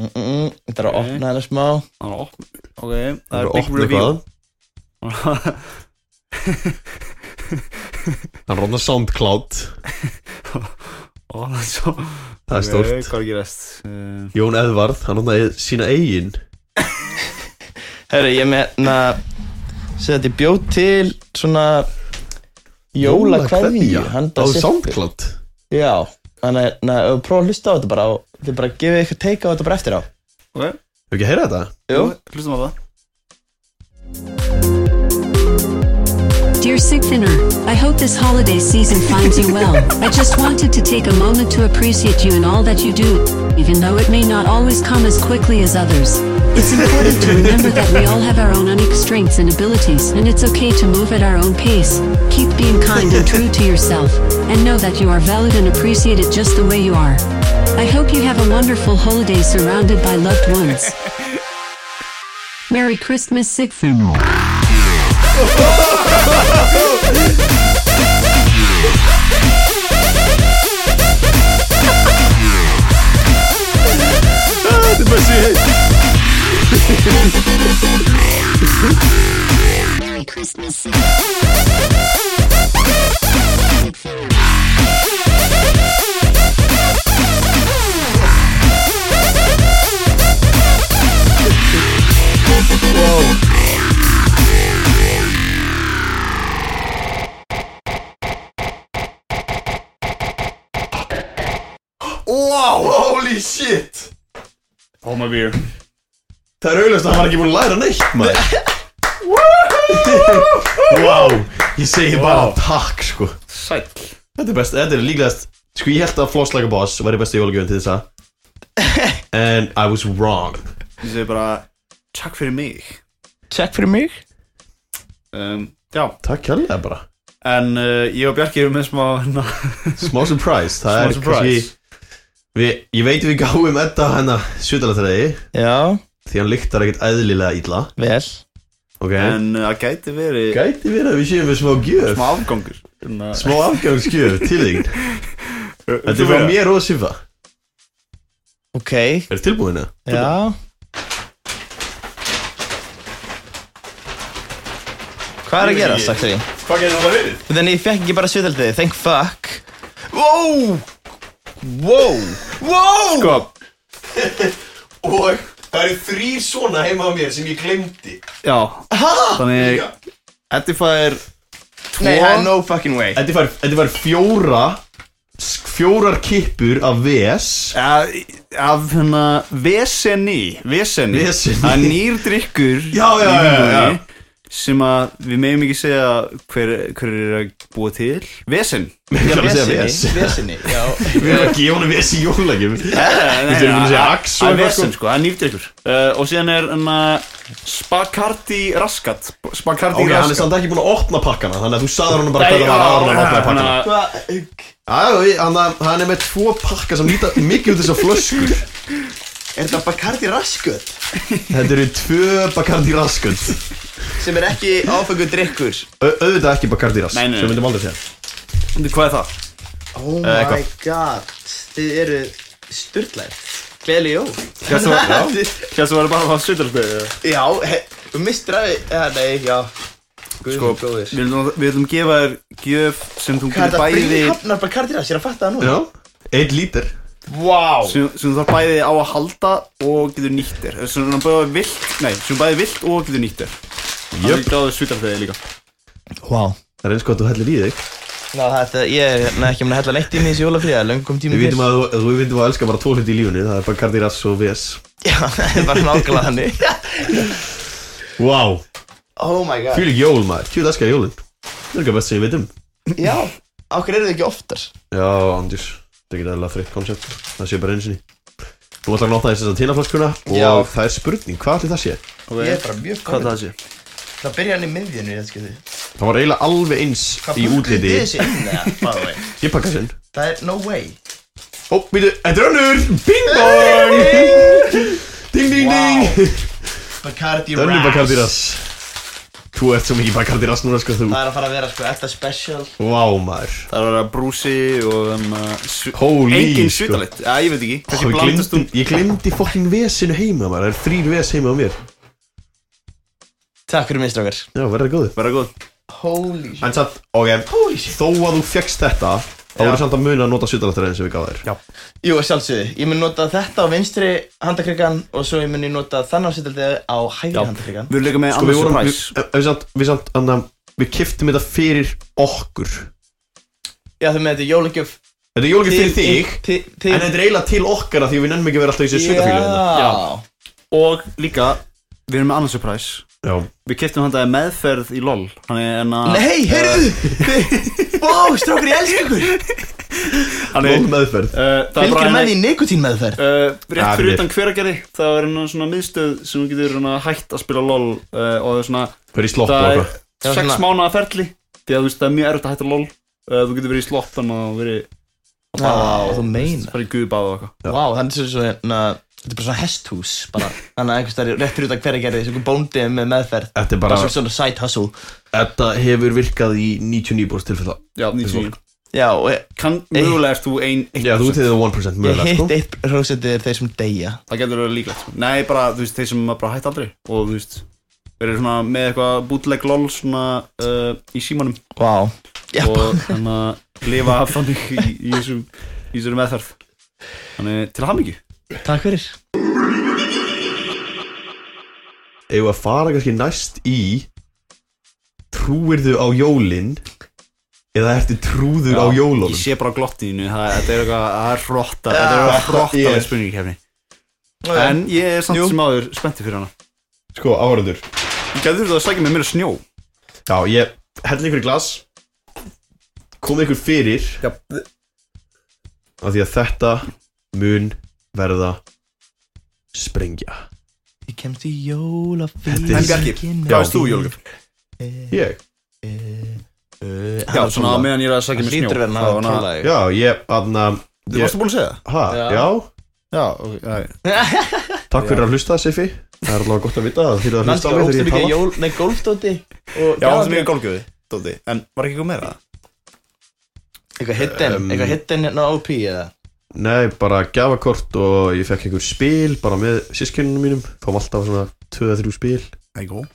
Mm -mm, þetta er að
Ok.
opna hana smá.
Hann er að opna Ok, það
Hann
er
að
big
opna
reveal
eitthvað. Hann rofna SoundCloud
Ó, það er svo
Það er
Ok,
stórt
Hvað er að gerast? Uh,
Jón Edvard, hann rofna e- sína eigin
Herru, ég meina, segja þetta ég bjóð til svona jóla kveðju. handa
Á
Siffu.
SoundCloud
Já, þannig að- na, ef þú prófa að hlusta á þetta bara og þið bara gefið ykkur teika á þetta bara eftir á.
ok,
Hefur ekki að heyra þetta?
Jú.
hlustum á það
Dear Sick Thinner, I hope this holiday season finds you well. I just wanted to take a moment to appreciate you and all that you do, even though it may not always come as quickly as others. It's important to remember that we all have our own unique strengths and abilities, and it's okay to move at our own pace. Keep being kind and true to yourself, and know that you are valued and appreciated just the way you are. I hope you have a wonderful holiday surrounded by loved ones. Merry Christmas, Sick Thinner.
Þetta er bara síðan
Merry Christmas.
Wow, holy shit
Hold my beer
Það er auðvitað að hann var ekki búin að læra neitt maður Wow, ég segi bara takk sko
Sæl
Þetta er best, þetta er líklegast Sko ég held að Floss Like a Boss væri besti jólagjöfn til þessa And I was wrong
Ég segi bara Takk fyrir mig
Check fyrir mig.
um, Já
Takk kærlega bara
En uh, ég og Bjarki erum með smá hérna, na,
Smá surprise, það
Smá
er
surprise.
kannski við, Ég veit við gáum þetta hennar sjötalatræði
Já,
Því hann lyktar ekkert eðlilega illa
vel.
Ok
En uh, það gæti verið
Gæti verið að við séum við smá gjöf
Smá afgangur Hérna, Na,
Smá afgjöfsgjöf til þín Þetta er frá mér og Sifa
Ok,
Er tilbúinu?
já. Hvað er að gera, sagt því?
Hvað gerir það verið?
Þannig ég fekk ekki bara sviðaldið, thank fuck. Wow! Wow! Wow!
Sko
Og Það eru þrýr svona heima á mér sem ég glemdi
Já Þannig Eddi fær
Nei, það er no fucking way
Þetta var, þetta var fjóra s- Fjórar kippur af VS
Af, af hérna Veseni Veseni
Veseni.
Það er nýr drikkur
Já, já,
í
já, já,
Vímúlunni Sem að við meðum ekki segja hver, hver er að búa til Vesen
Ég ætla að segja VS
Vesinni, vesinni, já
Við erum að gefa honum VS í jólægjum
Nei,
Við þurfum að segja Axe og
Það er
eitthvað,
vesen sko, það er nýr drikkur uh, Og síðan er hérna Spakarti Raskat Spakarti
Ok, hann er
Raskat
samt ekki búin að opna pakkana Þannig að þú sagður honum bara
Nei,
hvað það var
já,
áður en hann opnaði
hann-
pakkana
hann-
Hvað?
Já, já, hann, hann er með tvo pakka sem líta mikið út þessar flöskur
Er þetta Bacardi Rasköt?
Þetta eru tvö Bacardi Rasköld
Sem er ekki áfengur drikkur
Auðvitað ekki Bacardi Rask
Nei, nei, nei.
Sem við myndum aldrei segja
Hvað er það?
Oh
Eh,
my god Þið eru styrtlæð Gleðli jól
Hérstu var, já. Hérstu var bara að hafa sveitarstæði
Já, he- þú mistur að Já, nei, já Guð
Sko,
minn góður
við ætlum- við ætlum að gefa þér gjöf sem þú
Hvað er
getur
þetta
bæði
bríhafnar Bacardi Rask? Ég er að fatta það nú
Já, einn lítir
Vá
sem, sem þú þarf bæði á að halda og getur nýtt þér sem þú bæði vilt, nei, sem bæði vilt og getur nýtt þér Það er
Jöp,
gráður svítarfæði líka
Vá
það er eins gott að þú hellir í þig
Ná, þetta, ég er hérna ekki mun að hella neitt í mig þessi jólafríða, löngum tími
Við vitum að þú- þú vitum að elska bara tvo hluti í lífunni Það er Bacardi Rask og VS
Já, það er bara nákvæmlega þannig
Vá, wow.
Oh my god
fylg jól maður, tjóð elskar jólin Það er ekki best sem ég veit um
Já, okkur eru þau ekki oftar
Já, Andjús, þetta er ekki eðlilega þreytt koncept Það sé bara einu sinni Þú ætlar að nota þess að tinaflaskuna og
Já.
það er spurning, hvað allir það sé?
Ég er bara mjög
Hvað
komið
það sé?
Það byrja hann í miðjunni, ég skilði
Það var eiginlega alveg eins
Hvað
í
punktuðu
útliti
þið þessi inn eða, by the way
Ég pakka sinn
Það er no way
Ó, býtu, þetta er önnur Bing bong Ding ding ding
Bacardi
Það er önnur
Raps
Bacardi Rass Þú ert svo mikið Bacardi Rass núna sko þú
Það er að fara að vera sko þetta special
Vá maður
Það er að vera brúsi og um,
Holy,
Engin
sko.
svítarleitt, já, ég veit ekki
Ó,
Kanski
ég
blandast um-
glemdi,
hún
ég glemdi fokkin vesinu heima maður Það er þrýr ves heima á mér
Takk fyrir mig strákar
Já, verður góðu
Verða góð
Holy shit
En samt, ok
Holy shit
Þó að þú fjekkst þetta Þá
Já.
voru samt að muna að nota sutalættar eins og við gáðum þér
Jú, að sjálfsögðu Ég mun nota þetta á vinstri handakrikan Og svo ég mun ég nota þannig ásitaldið á hægri handakrikan
Við erum líka með
Sko, við
annars
vorum Við,
surprise
við samt, við samt, annað Við kiftum þetta fyrir okkur Þetta
Já, þú með þetta er jólagjöf
er jólugið fyrir þig
Til
En þetta er eiginlega til okkar af Því að við nennum ekki að vera alltaf í þessu svitafílu hérna.
Já
Og líka, við erum með annars surprise
Já
Við keftum hann það meðferð í LOL hérna- Þannig en að
Nei, heyrðu Vá, strákar, ég elska ykkur
Þannig,
Góð meðferð
uh, Það er bara
Fylgir með
henni
því nikotín meðferð
Uh, rétt fyrir
Ja, Ah, við-
utan hveragerði það er hérna svona miðstöð sem þú getur hérna, hægt að spila LOL uh, og það er svona
Fyrir í slopp og
það er
eitthvað
Það var
sex
svona-
mánuða ferli því að þú veist það er mjög erfitt að hætta lol uh, þú getur verið í slottan og verið
Vá, þú meina
bara í guðbáð og eitthvað
Vá, þannig sem svo hérna Þetta er bara svona hesthús bara Þannig að einhvers staðar réttur út af hverja gerði Þessu bóndið með meðferð
Þetta er
Bara
bara
svona svona side hustle
Þetta hefur virkað í 99% tilfella
já, 99
Já, og ég,
kann mögulega ert þú ein
Já, þú til það 1%
ég
mögulega
hitt
sko.
eitt prósentið er þeir sem deyja
það getur verið líklegt sko. nei, bara þú veist þeir sem bara hætta aldrei og þú veist verið svona með eitthvað bootleg lol svona uh, í símanum
Vá Já,
og þannig að lifa af þannig í, í þessum í þessum meðferð þannig til hamingju
takk fyrir
Ef að fara kannski næst í Trúirðu á jólin Eða ertu trúður á jólunum
ég sé bara glottinu það þetta er eitthvað það er hrotta þetta er eitthvað hrotta
Ég-
yeah. spurningkefni en ég er samt
Jú.
sem áður spenntið fyrir hana
Sko, áhörður
Gæður þú að sækja með mér snjó?
Já, ég helli ykkur í glas Komið ykkur fyrir
Já.
Af því að þetta mun verða Sprengja
Ég kemst í jólafíl
Þetta er- En
Bjarki,
hvað
veist þú í jólagjöf?
Ég
Já,
Eh,
svona á meðan ég er að sækja
Það
með snjó
hlýtur verið að hafa
að
trúlega
Já, ég, aðna
Þú varstu búin að segja það?
Hæ,
Já.
já
Já, ok, já
Takk fyrir að hlusta Siffi Það er alveg gott að vita það Þið eru að hlusta á
Mannskja
mig þegar
ógstu
ég
mikið
tala
jól, nei, golfdóti og
Já, það
gjafir.
sem ég er gólgjöði, Dóti En var ekki eitthvað meira?
Eitthvað hidden,
Um,
eitthvað hidden hérna á OP eða
Nei, bara gafakort og ég fekk einhver spil bara með sískinnunum mínum Fáum alltaf svona 2-3 spil
Það er góð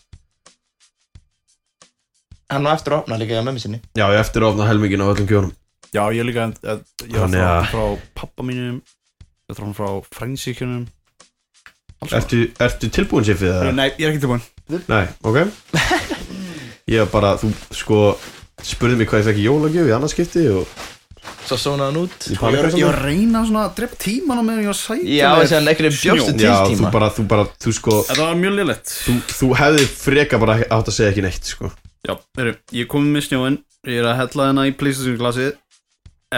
Hann var eftir að opna líka hjá mömmu sinni
Já, ég eftir ofna helmingin á öllum gjónum
Já, ég líka en, en, Ég var
Þannig
frá,
að-
frá pappa mínum Ég var frá frænsikjunum
Ertu, ertu tilbúin sér fyrir það?
Nei, ég er ekki tilbúin
Nei, ok Ég var bara, þú sko spurði mig hvað ég fekk í jólagjöf í annarskipti og
Svo sónaði hann út
ég
Ég um var,
panikaði
ég var
svolítið.
að reyna svona að drepa tíman á meðan ég var að sæta
Já,
mér
þessi hann einhvern veginn bjóstu
snjó.
til
Já, þú
tíma
bara, þú bara, þú sko
Þetta var mjög liðlegt
þú, þú hefði freka bara ekki- átt að segja ekki neitt sko
Já, heru, ég kom með snjóin Ég er að hella hennar í PlayStation glasið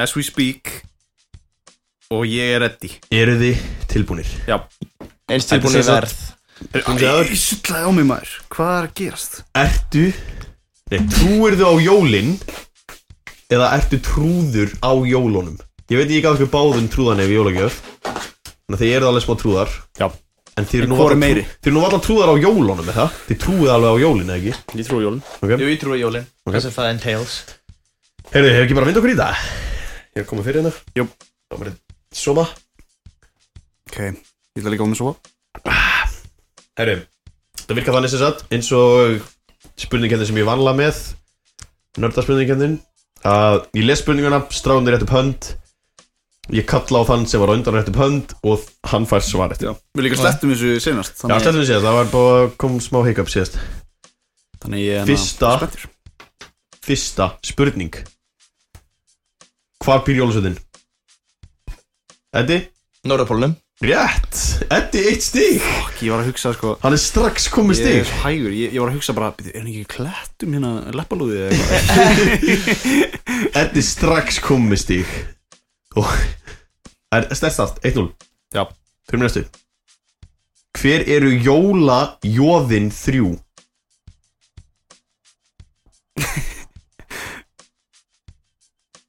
As we speak Og ég er ready
Eru þið tilbúnir?
Já
Eins tilbúin í
Þetta er sem
verð
Komdu að-
Ég sullaði á mig maður Hvað er að gerast?
Ertu Nei, trúir þú á jólin eða ertu trúður á jólunum? Ég veit ekki að hverju báðum trúðan ef jólagjöf Þannig að þið eru alveg smá trúðar
Já
En þið eru
En
nú
hvor er
varla
meiri?
trú- þið eru nú alltaf trúðar á jólunum eða? Þið trúið alveg á jólin eða ekki?
Ég trúi jólun
Jú, ég trúi á jólin okay. Þess að það entails
Heyrðu, hefur ekki bara mynd okkur í það? Ég er komið fyrir hérna
Jú.
Það var þetta Soma
Ok Ég ætla líka á mig svo
Herru, það virkar þannig sem sagt eins og spurningkendin sem ég vanla með nördarspurningkendin að ég les spurninguna, stráðum þér rétt upp hönd ég kalla á þann sem var á undan rétt upp hönd og hann fær svarið Já,
Við líka slettum þessu senast
Já slettum við síðast, það var búið að kom smá hiccup síðast
Þannig ég er hérna
Fyrsta.
spenntur.
Fyrsta spurning Hvar býr jólasöðin? Eddi?
Norðapólunum
Rétt! Eddi eitt stík!
Fuck, Ég var að hugsa sko
Hann er strax komið
Ég er
stík
svo hægur, ég, ég var að hugsa bara "Bíddu, Er hann ekki í klættum hérna leppalúði eða eitthvað
Eddi strax komið stík og er stærstast 1-0
Já.
fyrir mér næstu hver eru jóla jóðin þrjú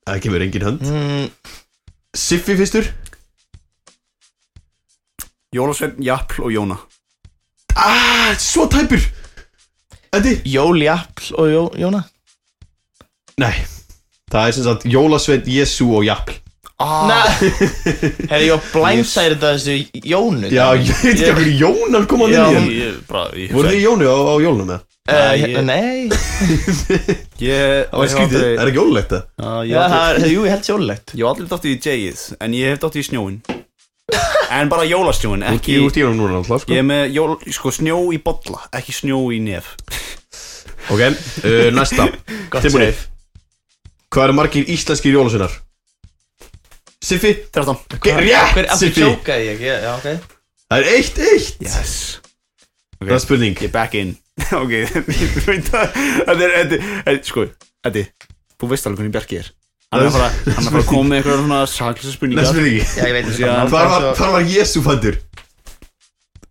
það kemur engin hönd
mm,
Siffi fyrstur
Jólasveinn, Japl og Jóna
ah, svo tæpur Eddi
Jól, Japl og Jó, Jóna
nei það er sem sagt jólasveit, Jésu og Japl
Nei Herri, ég var blindsæri þetta þessu Jónu
já, ég veit ekki af hverju Jónar koma
Já,
inn í hérna.
Ég er bara Ég,
voru þið Jónu á, á jólunum eða?
uh,
Eh,
Nei,
ég...
ég-
Nei
ég,
það var
ég
skrítið, er ekki jólulegt það?
aldrei-
Já,
Já, ég var
það er, jú, ég held sjólegt
Ég hef allir dótt í J-ið, en ég hef dótt í snjóin En bara jólasnjóin, ekki
Ekki út í honum núna alltaf sko
Ég er með jól, sko, snjó í bolla, ekki snjó í nef
Ok, uh, næsta Tilbúinir Hvað eru margir íslenskir jólasveinar? Siffi
13
Ge- Rétt,
Hver, af
Siffi
hverju sjókaði ég? Já, ok
Það er eitt, eitt
Yes
Það er spurning
Ég er back in Ok, ég veit að Þetta er, þetta er- þetta er, sko, þetta er Þú veist alveg hvernig Bjarki er Hann er að fara, hann er að fara að koma með eitthvað svona saklisa
Næsta
spurningar
spurning
Já, ég veit
Já,
hann
Hvar var,
bara svo-
hvar var Jésu fættur?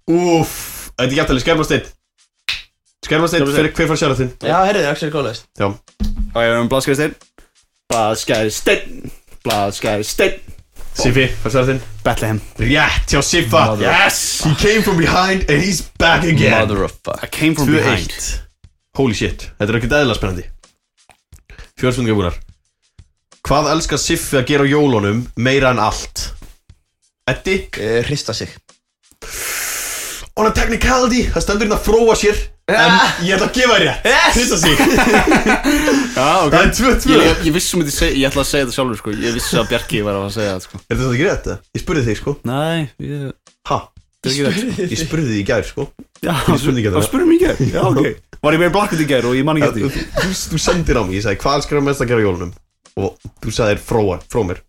Úff Þetta er jæftali, skærmasteinn Skærmasteinn, hver, hver fær sjára þinn?
Já, herri, það er ekki góðlegst
Já
Og ég er um blaðskæri stein Blaðskæri stein Blaðskæri stein
Siffi, fær sjára þinn
Bethlehem
Rétt, hjá Siffa Yes He came from behind and he's back again
Mother of fuck
I came from
2-1.
behind
Holy shit, þetta er ekkert eðla spennandi Fjórspurningar búnar Hvað elskar Siffi að gera á jólunum meira en allt? Eddi
Eh, Hrista sig
On a technicality, það stendur hérna að fróa sér En
Ah.
ég ætla að gefa þér rétt yes. Hrista sig
Já, Ah, ok
Það er 2-2
Ég,
Er
ég vissi um þetta, seg, ég ætla að segja þetta sjálfur sko Ég vissi að Bjarki var að segja þetta sko
þetta ekki rétt? eða? Ég spurði þig sko
Nei, ég,
Ha?
þetta er ekki þetta
Ég spurði þig í gær sko
Já,
Ég spurði ekki þetta.
það spurði mikið Já, ok Var ég með blakkut í gær og ég man ekki
Þú,
eftir því.
þú, þú sendir á mig, ég sagði hvað elskar að mest að gera á jólunum Og þú sagðir fróa, fró mér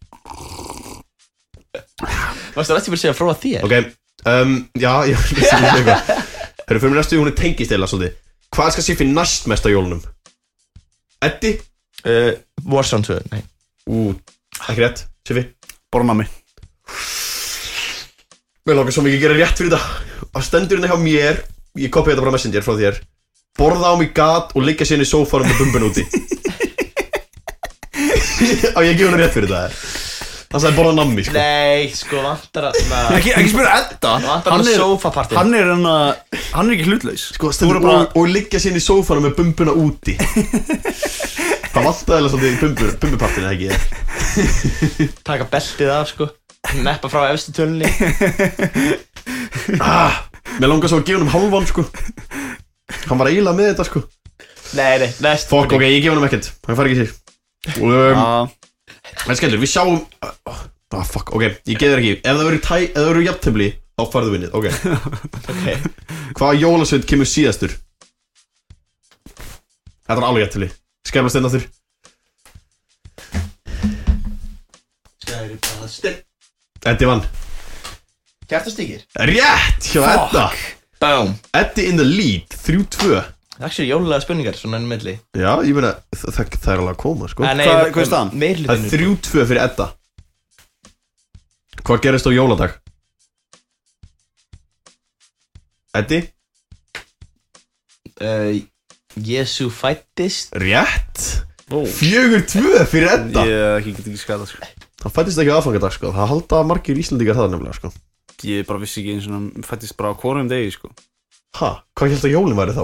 Varstu rætti fyrir að segja frá að þér?
Ok, um, já, ég var lýstum um eitthvað Hörru, fyrir mér næstu, hún er tengist eða svolítið Hvað skal Siffi næst mest á jólunum? Eddi?
Uh, Warzone 2, nei
Ú, ekki rétt, Siffi
Borna mig
Mér lókar svo mikið að gera rétt fyrir þetta Að stendur hérna hjá mér Ég kopið þetta bara á messenger frá þér Borða á mig gat og liggja sér inn í sófanum með bumbun úti Á ég að gefa hún rétt fyrir þetta Það sagði borða nammi, sko
Nei, sko, vantar að na-
Ekki, ekki spyrja Edda
Vantar að sofa partí
hann er hann að Hann er ekki hlutleis
Sko, stendur
Þú voru bara-
og, og liggja sér inn í sófanum með bumbuna úti Það vantaði alveg svolítið í bumbur, bumbupartin, eða ekki?
Taka beltið af, sko Neppa frá efstu tölunni
ah, Mér langar svo að gefa hann um hálfan sko Hann var eiginlega með þetta sko
Nei, nei, næst
Fokk, ok, ég gefa hann um ekkert Hann fær ekki sér Og um,
Já,
Ah, En skellur, við sjáum Ah, fuck, ok, ég geður ekki Ef það verður tæ, ef það verður jafntefli Þá færðu vinnið, ok Hvaða jólasveit kemur síðastur? Þetta er alveg jættili Skemmast einn aftur Eddi vann
Kjartastíkir
Rétt hjá Edda
Bám
Eddi in the lead 3-2
Það er actually jólulega spurningar svona enn milli
Já, ég meina það, það, það er alveg að koma sko.
Nei,
hvað- hvað er staðan?
Meirlutinu
Það er 3-2 fyrir Edda Hvað gerist á jóladag? Eddi?
Eh,
Jésu fættist
Rétt 4-2 fyrir Edda
Ég eh, ekki get ekki skata sko.
Það fættist ekki á aðfangadag sko Það halda margir íslendingar það nefnilega sko
Ég bara vissi ekki eins og hann fættist bara á hvorum degi sko.
Ha, hvað held að jólin væri þá?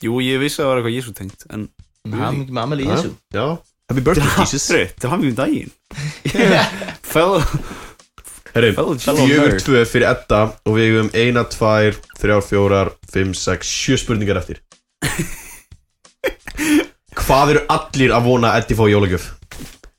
Jú, ég vissi að það var eitthvað Jésu tengt En
Mjög mikið með Amelie Jésu
Já Happy birthday Jesus
Hatri, til hann mjög daginn Fell
Herri,
Fellow
fjögur
nerd.
tvö fyrir Edda og við hefum eina, tvær, þrjár, fjórar, fimm, sex, sjö spurningar eftir. Hvað eru allir að vona að Eddi fá í jólagjöf?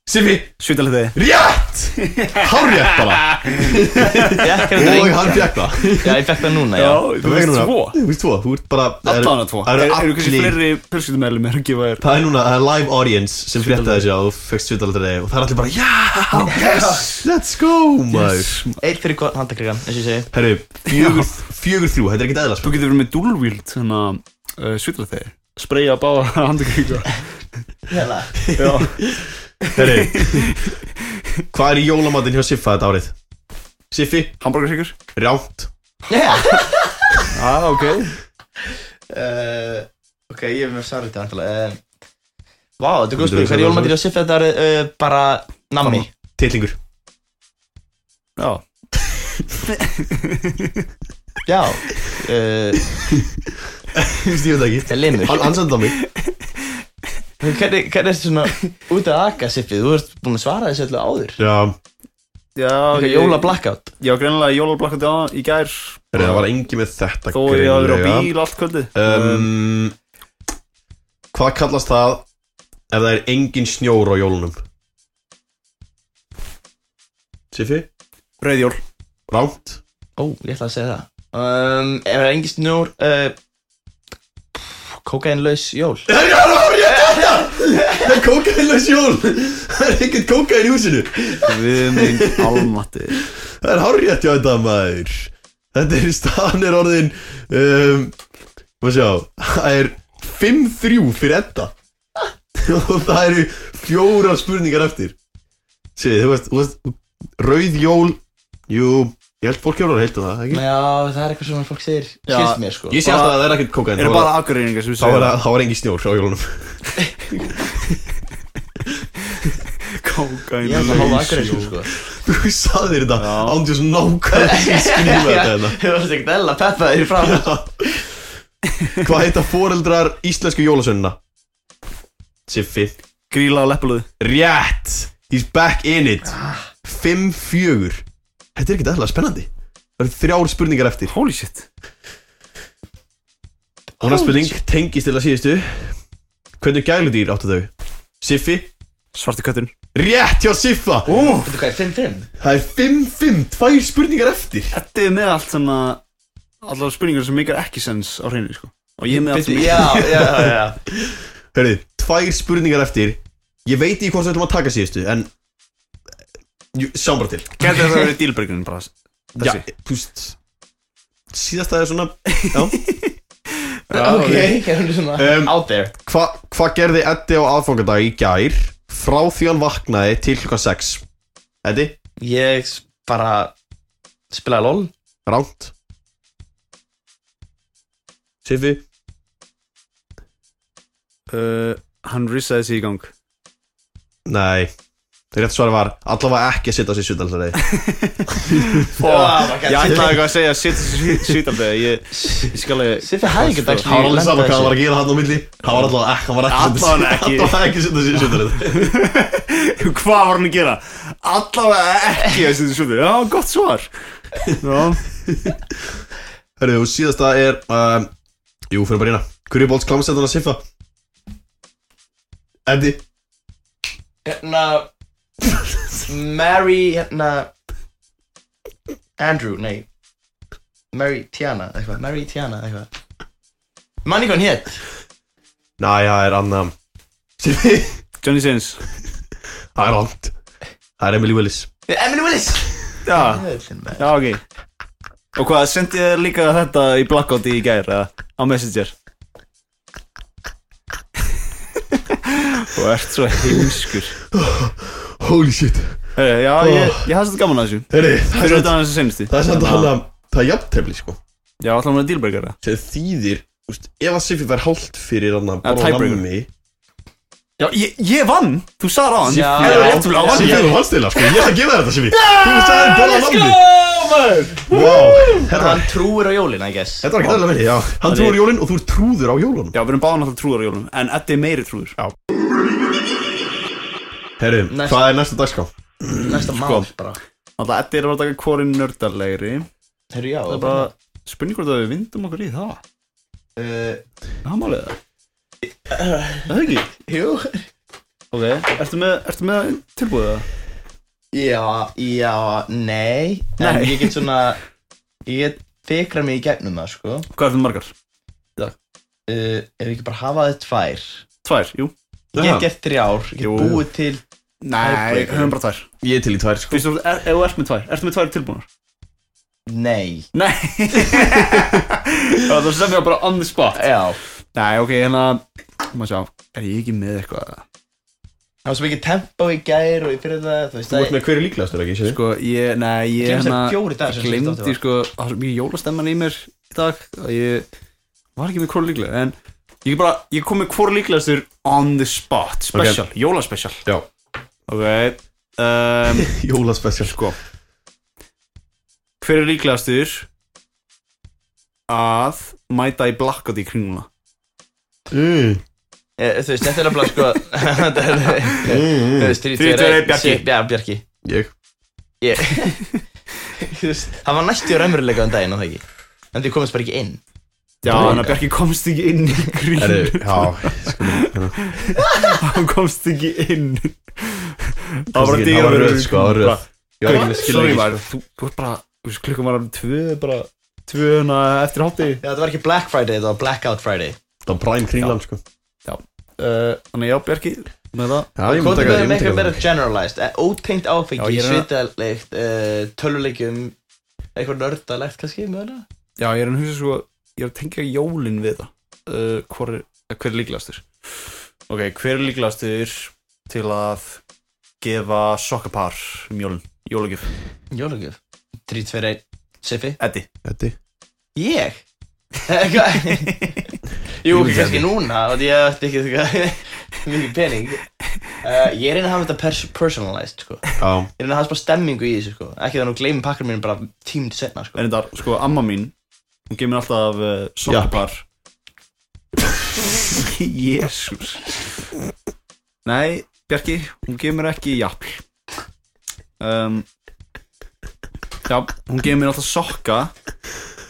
Simmi,
Svítalið þegi
rétt! Hárrétt bara! Og hann fekk það.
Já, ég fekk það núna, já
Já, þú veist tvo
Þú veist tvo, þú ert bara... það eru-
Allána tvo
það
Er-
Eru
Eru kannski
allir...
fleiri pölskutumælum er að gefa þér
Það er núna, það er live audience sem frétta þessi á og þú fegst svitalataði og það er allir bara Já, yes, let's go, maður yes.
Eitt fyrir hvort handakrigan, eins og ég segi
Herru, fjögur, fjögur þrjú, þetta er ekkert eðla
Þú getur verið með dual-wield Þannig að uh, svítalið þegi Spreyja báða handakríka
Hérna
Herri Hvað er í jólamatinn hjá Siffa þetta árið? Siffi,
Hamburgersikur
ránt
Ah, ok
uh, Ok, ég er með svarið þetta vantilega uh, Vá, þetta er góð spil,
Myndirðu
hvað er jólmatir að siffa þetta er uh, bara nammi
Tittlingur
Já
Já uh,
Stífum það ekki
er limur
Hann hann sendi á mig
Hvernig hvernig ertu svona út að aka siffið? Þú ert búin að svara þessu öllu áður
Já
Já,
Eitthvað jóla blackout
Ég var greinilega jólablakandi á í gær
Herri, það var engi með þetta
Þó ég hafði verið á bíl allt kvöldi
um, Hvað kallast það ef það er engin snjór á jólunum? Siffi,
Rauðjól
ránt
Ó, ég ætla að segja það um, Ef það er engin snjór uh, Kókainlaus jól
Herri, það var rétt hérna! þetta Það er kókainlaus jól Það er ekkert kókain í húsinu
Við minn almati
Það er hárjætt hjá þetta maður Þetta er staðan er orðin um, Má sjá Það er 5-3 fyrir etta Og það eru fjóra spurningar eftir Sér, þú veist, þú veist Rauð jól Jú, ég held fólk hefur að heilta það, ekki?
Já, það er eitthvað sem fólk segir Skilst mér sko
Ég sé alltaf að það er ekkert kókain
Eru
þá var-
bara akureyringar sem
Þá
segja
var, þá var engi snjór á jólunum
Kókain
Ég er að hófa aðgreifsum sko
Þú sagðir þetta ándjós nákvæmlega sem skrifa þetta hérna
Ég var ekkert eðla peppa þér frá
Hvað heita foreldrar íslensku jólasönuna? Siffi
Gríla á leppalúði
Rétt He's back in it 5-4 Þetta er ekkert aðlega spennandi Það eru þrjár spurningar eftir
Holy shit
Núna spurning tengist til að síðustu Hvernig gæludýr áttu þau? Siffi
Svarti kötturinn
Rétt hjá Siffa
Úf
Þetta hvað er 5-5?
Það er 5-5 Tvær spurningar eftir
Þetta er með allt svona Allar spurningar sem mikar ekki sens á hreinu sko Og ég er með allt sem
Já, já, já
Hörðu, tvær spurningar eftir Ég veit ekki hvort við ætlum að taka síðustu En eh, Jú, Sjáum bara til
Gæti þetta að vera dílbreikunin bara Þessi
Já, þú veist Síðasta er svona Já
Ok, hérna svona
Um,
Out there
Hva- Hvað gerði Eddi á aðfangadag í gær frá því hann vaknaði til klukkan 6? Eddi,
Ég s- bara spilaði LOL
ránt Siffi
Uh, Hann rissaði sig í gang
Nei, rétt svar var allavega ekki að setja sig sjöndalsari
Oh my god.
Ég ætlaði eitthvað að segja Sýtaldegi Ég, ég skal að
Siffi hafði ekki dags
Það var alveg saman hvað hann var að gera hann á milli Hann var allavega ekki, hann var ekki
Allavega ekki.
Allavega ekki að setja sig sjöndalsari
Hvað var hann að gera? Allavega ekki að setja svolítið Já, gott svar Já
Hörru, og síðasta er um, Jú, fyrir bara hérna Hverju bólts klámsendana Siffa? Eddi
Hérna Mary, hérna Andrew, nei Mary Tiana eitthvað Mary Tiana eitthvað Manni hvað hann hétt
Næja, það er annað Það
Johnny Sins
er rámt Það er Emily Willis
Emily Willis
Já,
Öllin með
já ok Og hvað, sendið þér líka þetta í Blackout í gær eða á Messenger? Þú ert svo heimskur
Holy shit
Heyrðu, Já, ég, ég hafði svolítið gaman að þessu
Heri, Oh. Það
Fyrir
er
þetta hans að senstu
það er samt að hana Það er jafntefli sko
Já, ætlaðum við að dílbergara
Sem þýðir úst, Ef að Siffi fær hálft fyrir hann
Ja,
Bara
tiebreaker.
nammi
Já, ég, ég vann, þú sagði á hann
Já.
Ég er rétt til að
Siffi
vann
þú hans til það sko Ég ætla að gefa þér þetta Siffi Þú sagði bara nammi Wow Þetta var
Hann trúir á jólin, I guess
Þetta var ekki aðlega minni, já. Hann trúður jólinn og þú er trúður á jólunum.
Já, við erum báðan alltaf trúðar í jólum En Eddi er meiri trúður
Herru,
Næst-
hvað er næsta dagskrá?
Næsta mál bara
Alltaf Eddi er að taka hvorin nördarlegri
Herru, já
Það er bara spurning hvort að við vindum okkur í það Eh,
uh,
Það málið það Það er ekki
Jú
Ok, ertu með, ertu með tilbúið það?
Já, já, nei En
Nei.
ég get svona Ég get fikra mig í gegnum það, sko
Hvað er þetta margar?
uh, Ef ég ekki bara hafa þið tvær
Tvær, jú
Ég get gert þrjár, ég
Jú.
get búið til
Nei, höfum bara tvær
Ég er til í tvær sko
Fyrst og fremst, er- ef þú ert með tvær, ertu með tvær tilbúinar?
Nei
Nei Já, Það sem ég bara on the spot
Já
Nei, ok, hérna Má sjá, er ég ekki með eitthvað?
Það var svo mikið tempo í gær og í fyrir það Þú veist
Þú
það
ert með hverju líklegastur ekki, séu?
Sko, ég, nei, ég
Gleymst þér fjórir dagar sem síðustu
Glemdi,
þáttur
sko, það var svo mikið jólastemman í mér í dag að ég var ekki með hvora líklega en ég bara, ég kom með hvora líklegastur on the spot, special, jólaspecial
Já
Ok um,
Jólaspecial sko
Hver er líklegastur að mæta í blakkat í kringuna?
mm.
Eh, Þú veist, þetta er alveg sko þetta er- Þú veist, þrír,
Mm, Þrír,
tveir,
tveir,
einn,
Bjarki.
Sif- Já, Bjarki
Ég
Ég Þú veist, Það var næstu raunveruleika um daginn, og það ekki En þið komist bara ekki inn
Já, hann að Bjarki komst ekki inn í
Herru,
kringuna
já Sko
Hann komst ekki inn Það var bara
ekki inn, það
dýra
var röð, sko, það var röð. Ég var ekki sko. með skilja
Sorry maður, þú þú ert bara, þú veist, klukkan var alveg tvö, bara tvö hana eftir hátti
Já, þetta var ekki Black Friday, þetta var Blackout Friday
Það var Prime Kringland sko
uh, Þannig já, Bjarki, með það
Já, ég mun
Hvað
taka
er
það, ég
með
mun
eitthvað
taka
meira
það
generalized? eh, Ótengt
Já,
áfengi,
ég er að-
svitaleikt, uh, tölvuleikjum Eitthvað nördalegt kannski, mögulega?
Já, ég er hann hugsa svo, ég er að tengja jólin við það uh, hver, hver er líklegastur? Ok, hver er líklegastur til að gefa sokkapar um jólin? Jólagjöf,
Jólagjöf 3, 2, 1 Siffi
Eddi
Þetta
Ég? Eitthvað- Jú, ok, kannski núna og því ég ætti ekki eitthvað mikið pening uh, Ég reyna að hafa þetta pers personalized sko. Ég
Já
reyna að hafa bara stemmingu í þessu sko. Ekki þannig að gleymi pakkur mínu bara tímur setna sko.
En þetta, sko, amma mín, hún gefur mér alltaf uh, sokkapar Jésús Nei, Bjarki, hún gefur mér ekki jafn um, Já, hún gefur mér alltaf sokka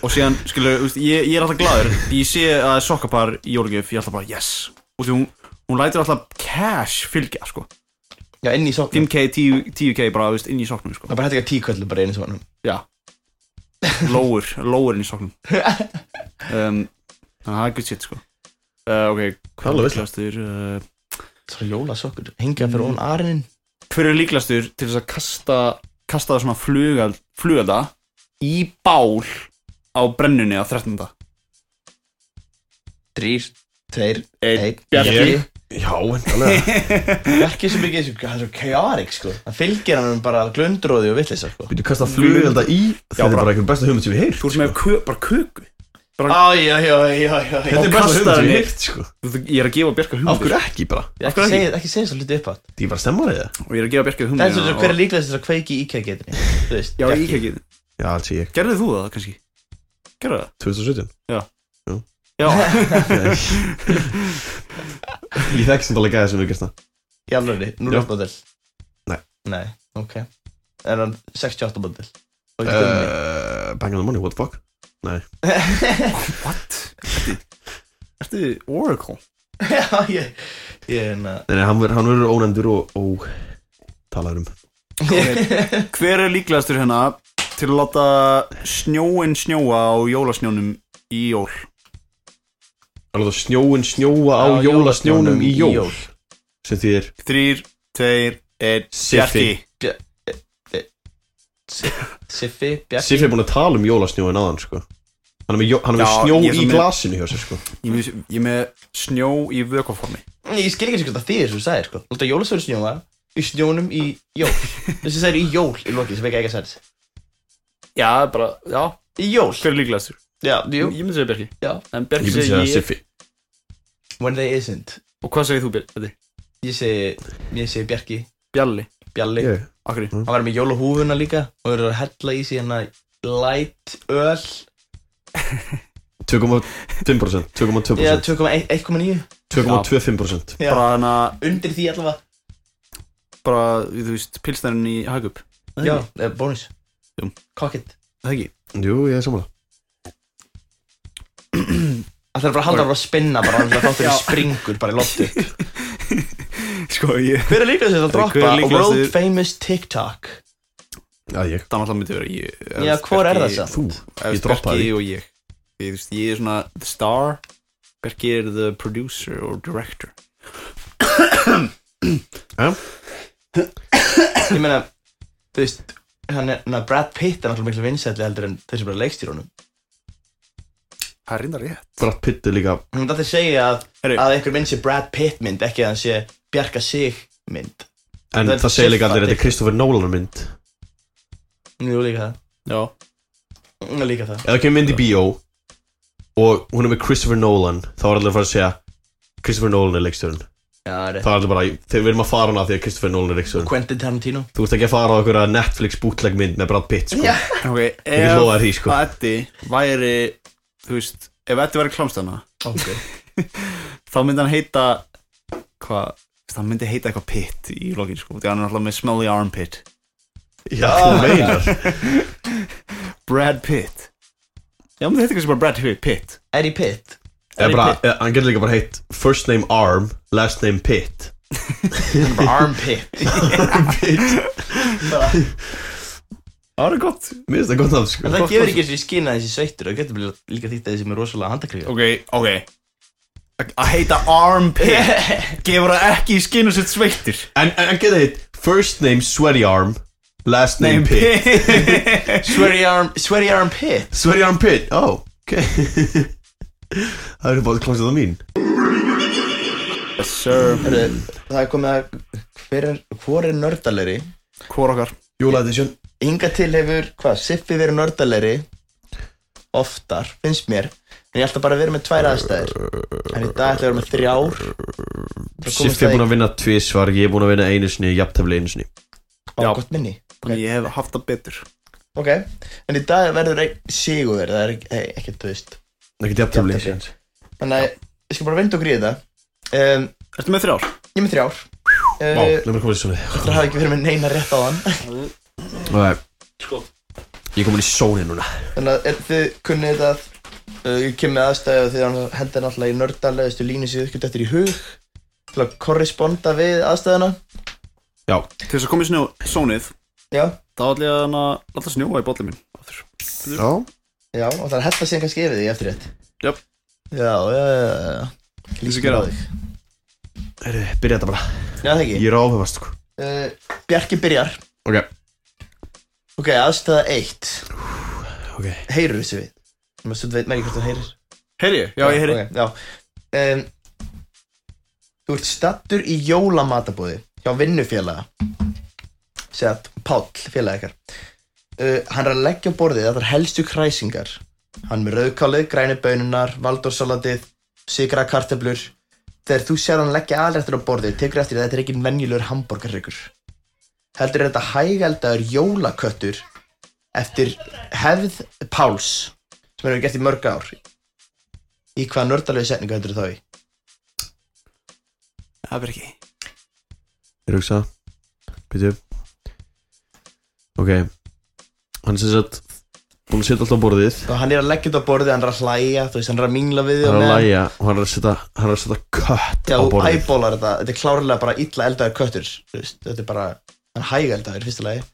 Og síðan, skilur, þú veist, ég, ég er alltaf gladur Ég sé að það er sokkapar í jólugjöf Ég er alltaf bara, yes Og því hún, hún lætur alltaf cash fylgja, sko
Já, inn í soknum
5k, 10, 10k bara, þú veist, inn í sokknum, sko
Það er bara hætti ekki að tíkvöldu bara einu svona
Já Lóur, lóurinn í soknum um, Það er good shit sko uh, Ok,
Það er alveg veistla.
líklegastur uh,
Svona jóla sokkur Hengja
Mm.
fyrir ón arinin
Hver er líklegastur til þess að kasta Kasta svona flugal, flugalda Í bál Á brennunni á 13.
3, 2,
Einn.
1
Bjarki.
Já, endalega
Bjarki sem ekki þessu Hann er svo chaotic sko. Það fylgir hann bara glundróði og vitleisa sko.
Býtu kasta flugvelda í Þetta er
bara-
bara einhver besta hugmynd sem ég heyrt sko.
Þú ert með kö, bara köku
Æj, æj, æj, æj, æj
Þetta
Og
er besta
kastaði
hugmynd sem
henni.
ég heyrt sko
Þú- Ég er að gefa Bjarka
Af
hugmyndir
hverju ekki bara?
Ekki segja ekki segja þessu hluti upp átt
Þetta er bara stemmar eða?
Og sko. ég er að gefa Bjarka
Það er
hugmyndir
svo hver er líklegast þess að kveiki í IKEA-getinni Þú veist,
Já,
Bjarki.
ég ekki
Já, alls ég
Gerðu þú það kannski? Gerðu það?
2017
Já,
Nei. Ég þekk sem það gæði sem við gæst það
Í alvegni,
Já.
0 model
Nei.
Nei, ok Er hann 68 model? Og ekki uh,
Uh, Bang on the money, what the fuck? Nei
what? Ertu, ertu Oracle?
Já, ég Ég er hérna
Nei, nei, hann ver- hann verður ónendur og, og talaður um
Hver er líklegastur hérna til að láta snjóin snjóa á jólasnjónum í jól
Alveg það snjóin snjóa á
Á
jólasnjónum í
jólasnjónum í
jól
jól.
Sem því er
Þrýr, tveir, einn
Siffi.
Bjarki
Siffi, Bjarki
Sif er búin að tala um jólasnjóin áðan sko Hann er með, jó- hann er með
Já,
snjó
ég er
í
svo með-
glasinu hjá sér sko
Ég er með, ég er með snjó í vökuformi
Ég skil ekki hvað það þýðir sem þú sagðir sko Láta jólasvöru snjóa í snjónum í jól Þessi sagðir í jól í lokið sem ekki ekki að sagði
Já, bara, já,
Í jól
hver er líklegastur?
Já, jú
Ég myndi segja Bjarki
Já.
En
Ég
Bjarki
myndi segja
segir ég
Siffi
When they isn't
Og hvað segir þú Bjarki?
Ég segi, ég segi Bjarki
Bjalli
Bjalli
Ég-
Akkur
Hann var með jólahúfuna líka Og verður að hella í sig hérna light öl
2,5%
Já,
2,2%
2,1,9
2,25%
Já.
Bara hana,
Undir því allavega
bara, þú veist, pilsnærin í hagup
Já, eh, bónus
Jú.
Cocket
Það ekki
Jú, ég er samanlega
Það þarf bara að halda bara að spinna bara hann þáttur í springur bara í loftu
Sko, ég
Hver er líklegast að
Hver er
droppa
líklegastur?
world famous TikTok?
Já, ég
Það náttúrulega myndi vera ég
Já, hvor er það samt?
Þú Ég
Ég
droppa
Berki
því
og ég Ég, þú veist, ég er svona the star Berki er the producer or director
Ég meina, þú veist, hann er, na, Brad Pitt er náttúrulega miklu vinsætli heldur en þeir sem bara leikst í honum.
Það er reyndar rétt
Bratt pitti líka
Hún myndi alltaf segja að,
Herru.
að einhver mynd sé Brad Pitt mynd, ekki að hann sé Bjarka Sig mynd.
En
Það er
það segir líka allir
Siffa
Þetta er
TikTok.
Kristoffer Nolan mynd
Jú, líka það.
Já
Jú, líka það.
Ef það kemur mynd í bíó Og hún er með Christopher Nolan Þá er allir að fara að segja Christopher Nolan er leikstjórn
Já, rétt.
Það er allir bara Þegar við erum að fara hana af Því að Christopher Nolan er leikstjórn
Quentin Tarantino.
Þú ert ekki að fara á einhverja Netflix bootleg mynd Með Brad Pitt sko
Já.
Ok,
Ég
ef
lofa því sko
Eddi væri Þú veist, ef Eddi væri klámstæðna
Ok.
Þá myndi hann heita Hvað Það myndi heita eitthvað pit í lokin sko Því hann er alltaf með smelly armpit
Já, þú meinar
Brad Pitt Já, myndi heita eitthvað sem bara Brad Pitt- Pitt
Eddie Pitt.
Eða bara eða Hann getur líka bara heitt First name Arm Last name Pitt
Hann er bara Arm Pitt.
Það er gott
Mér finnst það gott af sko
En það gefur ekki þessi skinn að þessi sveittur. Það getur bara líka þýtt að þessi með rosalega handakriða.
Ok, ok Að- Að heita armpit Gefur það ekki í skinu sitt sveittir
En, en, en getur heitt First name Sweaty Arm Last name,
Name
Pitt
Sweaty Arm, Sweaty Arm Pitt.
Sweaty Arm Pitt Oh, ok Það eru bara klámsið það mín
Yes sir
Heru, það er komið að, hver er, hvor er nördalegri?
Hvor okkar
Júla edition
Inga til hefur, hvað, Siffi verið nördalegri oftar, finnst mér en ég ætla bara að vera með tvær aðstæðir en í dag ætla ég að vera með þrjár
Siffi er búin að vinna tvísvar, ég er búin að vinna einu sinni, jafntefli einu sinni
vinna gott minni,
Þannig ég hef haft það betur
ok en í dag verður einn sigur það er ekki, hey, ekki þú veist
Ekkert jafntefli
Jafntefli. þannig að ég skal bara vinda okkur í þetta um,
Ertu með þrjár?
ég er með þrjár
Vá,
uh,
leið mér koma í svona
það hafi ekki verið með neina rétt á hann
Nei Ég er komin í sóni núna
þannig að er, þið kunnið þetta uh, ég kem með aðstæðu og þið hendur náttúrulega í nördalegustu línu sem þið ykkur dættir í hug til að korresponda við aðstæðuna
Já,
Til þess að koma í snjó, sónið
já,
Þá ætla ég hérna að hana- láta snjóa í bollin minn aftur.
já
já, og það er hella síðan kannski yfir því eftir rétt
Jöp.
já, já, já, já
Lýsum gera
þig
Herri, byrja þetta bara
já, það ekki
Ég er áhugast sko
uh, Bjarki byrjar
Ok,
ok, aðstæða 1
ok
heyrur þessu við Nú, þú veit mér ekki hvort þú heyrir
Heyri ég? Já, ég heyri
Ok, já. Um, þú ert stattur í jólamatabóði hjá vinnufélaga segja Páll, félaga ykkar uh, hann er að leggja á borðið allar helstu kræsingar hann er með rauðkálið, græni bönunar, valdórsalatið sigra kartöflur þegar þú sér hann leggja aðrættur á borðið tekur eftir að þetta er ekki venjulegur hambúrgarryggur heldur er þetta hægældaður jólaköttur eftir hefð Páls sem hefur gert í mörg ár Í hvaða nördalegu setningu heldur þá í?
Það er ekki
Ég hugsa Býtu Ok Hann er sem sagt Búin að setja allt á borðið
Og Sko, hann er að leggja þetta á borðið, hann er að hlæja, þú veist, hann er að mingla við þig
Hann
á
er að
meðan.
læja og hann er að setja Hann er að setja kött
Já,
á
þú
borðið
æbólar þetta, þetta er klárlega bara illa eldaður köttur, þú veist, þetta er bara, hann er hæg eldaður, fyrsta lagi.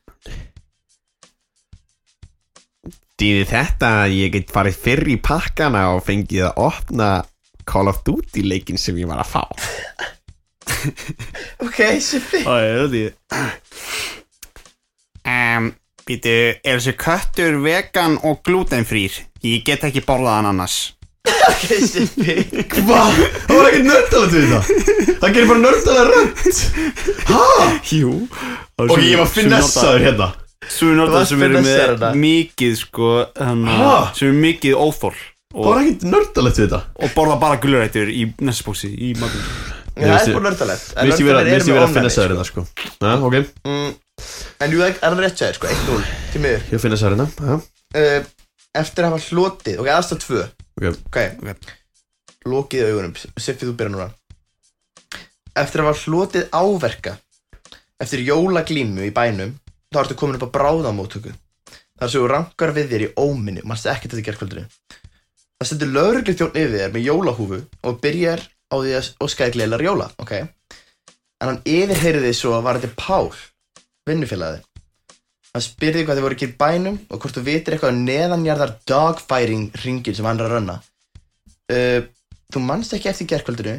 Þýðir þetta að ég get farið fyrr í pakkana og fengið að opna Call of Duty leikinn sem ég var að fá
Ok, Sippi
Það er þetta ég
um, Býtu, er þessi köttur vegan og glutenfrýr? Ég get ekki borðað hann annars
Ok, Sippi
Hva? Það var ekkert nördalegt við þetta Það gerir bara nördalega rönt
Jú
Og ég var finessaður hérna
Sumi
Þú
nördar
varst
sem eru
finessaður
með
þetta.
mikið sko hana,
Ha?
Sem eru mikið óþól
Það
og,
var ekkert nördalegt við þetta
og borða bara gulurættur í næstbóksi í matinn
Það
veist
er
ég-
búin nördalegt En
Mér finnst ég vera-
nördalegt
mér finnst ég
eru með
vera að
ofnæmi
finessaður
sko.
hérna sko Já, ok Ég
Mm, En jú, er það er rétt sæðir sko, 1-0 Til miður
er finessaður hérna Já,
uh, Eftir að hafa hlotið, ok, aðstæð 2
ok
Ok, lokið augunum Siffi, þú byrja núna Eftir að hafa hlotið áverka Eftir jólaglímu í bænum Þá ertu komin upp á bráðamóttöku Þar sem þú rankar við þér í óminni Manst ekkert þetta gerkvöldinu Það stendur lögreglu þjón yfir þér með jólahúfu Og byrjar á því að óska þér gleðilegra jóla Ok En hann yfirheyrði svo að var þetta Pál Vinnufélagi Hann spyrði hvað þið voru ekki í bænum Og hvort þú vitir eitthvað um neðanjarðar dogfighting ringin sem hann er að rönna uh, Þú manst ekki eftir gerkvöldinu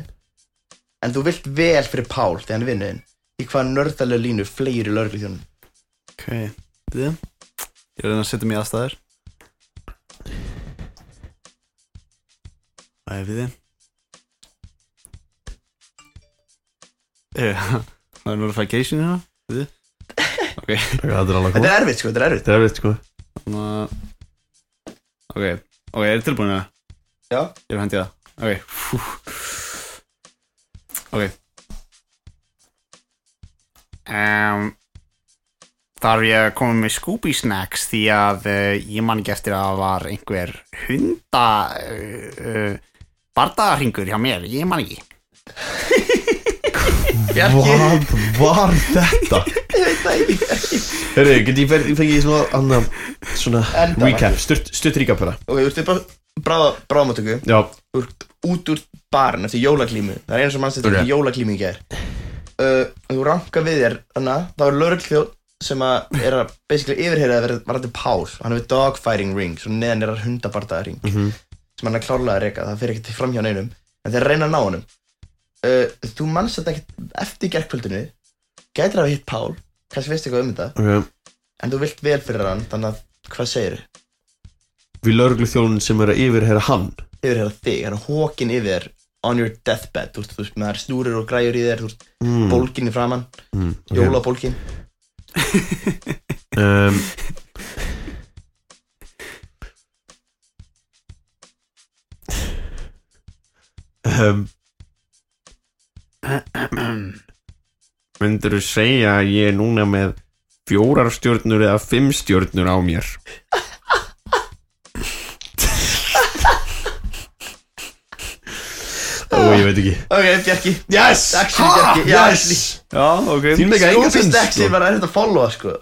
En þú vilt vel fyrir Pál Þegar hann vinnuðin Í hvaða nördalega línu fleiri lögreglu þjónum
Ok, byrðu Ég er að reyna að setja mig í aðstæður Það er byrðu Eh, Það er notification hérna Byrðu Ok,
Það er alveg
Þetta er erfitt sko, þetta er erfitt
Það er veit sko
þannig að Ok, ok, er þið tilbúin að
Já.
Ég er að hendi það Ok, fú Ok,
um, Þarf ég að koma með Scooby Snacks því að uh, ég man ekki eftir að það var einhver hunda uh, uh, bardagarhingur hjá mér, ég man ekki
Hvað var þetta? Hörru, get ég fer- ég fengið svona annan Svona
Enda
recap Stutt, stutt recap hérna
Ok, þú ert upp á bráða, bráðamáttöku
Já,
Þú ert út úr barn eftir jólaglímu Það er eins og manst eftir
Ok.
okay. jólaglímu í gær uh, Þú rankar við þér Þannig að það er lögreglu þjón sem að er að basically yfirheyra að vera var þetta Pál hann hefur dogfighting ring svo neðan er að hundabardaða ring sem hann er klárlega að reyka það fyrir ekkert fram hjá neinum en þeir reyna að ná honum uh, þú manst þetta ekkert eftir gerkvöldinu gætir að hafa hitt Pál kannski veist eitthvað um þetta
ok
en þú vilt vel fyrir hann þannig að hvað segir
Við lauruglu þjónun sem er að yfirherra hann
yfirherra hérna þig, hann er hókin yfir þér on your deathbed, þú veist, þú veist, með það er snúrir og græjur í þér, þú veist,
mm.
bólgin í framann
mm, ok.
jólabólgin,
um, um,
Myndur þú segja að ég er núna með fjórar stjórnur eða fimm stjórnur á mér
ó, ég veit ekki
ok, Bjarki
Yes!
Actually, Bjarki, já, actually.
já, ok
Þín meika enga
Scooby
sens
Snacksy
sko.
var að þetta followa, sko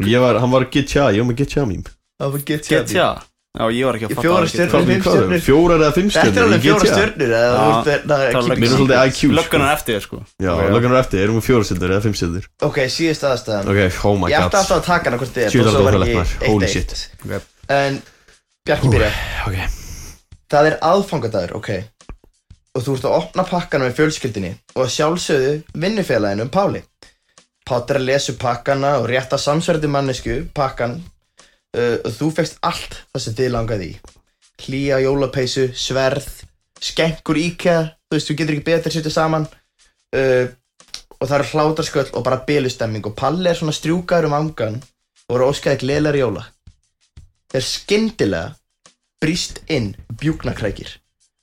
Ég var, hann var að getja, ég var með getja mím
það var get
Get ya Já, ég var ekki að
Í
fatta
fjóra
að geta
stjörnur.
það.
Fimm stjörnur.
Fjórar eða fimm
þetta
stjörnur
er alveg
í
fjóra
GTA.
stjörnur eða
Já,
þú ert með- það er
það var
keep-
Mér er
keep-
svolítið IQ sko.
Löggan er eftir þér sko
Já,
Ok,
löggan er eftir, erum við fjórar stjörnur eða fimm stjörnur
ok, síðasta aðstæðan
Ok, oh my
ég ætti
god
alltaf að taka hana hvort þið er
Djöfull
og svo
var
var
þetta
ég
ótrúlegt, maður. Holy
1-1.
shit.
en Bjarki byrja
Ok,
Það er aðfangadagur, ok Og þú ert að opna pakkana með fjölskyldinni Og að sjálfsögðu vinnufélaginu um Páli Pátt er að lesa upp pakkana og rétta samsverði mannesku pakkan uh, og þú fegst allt það sem þið langaði í Hlýja jólapeysu, sverð, skenkur íkja Þú veist, þú getur ekki betur að setja saman uh, Og það eru hlátarsköll og bara bylustemming Og Palli er svona strjúkaður um angan og er óskaði gleðlar jóla Þeir skyndilega brýst inn bjúknakrækir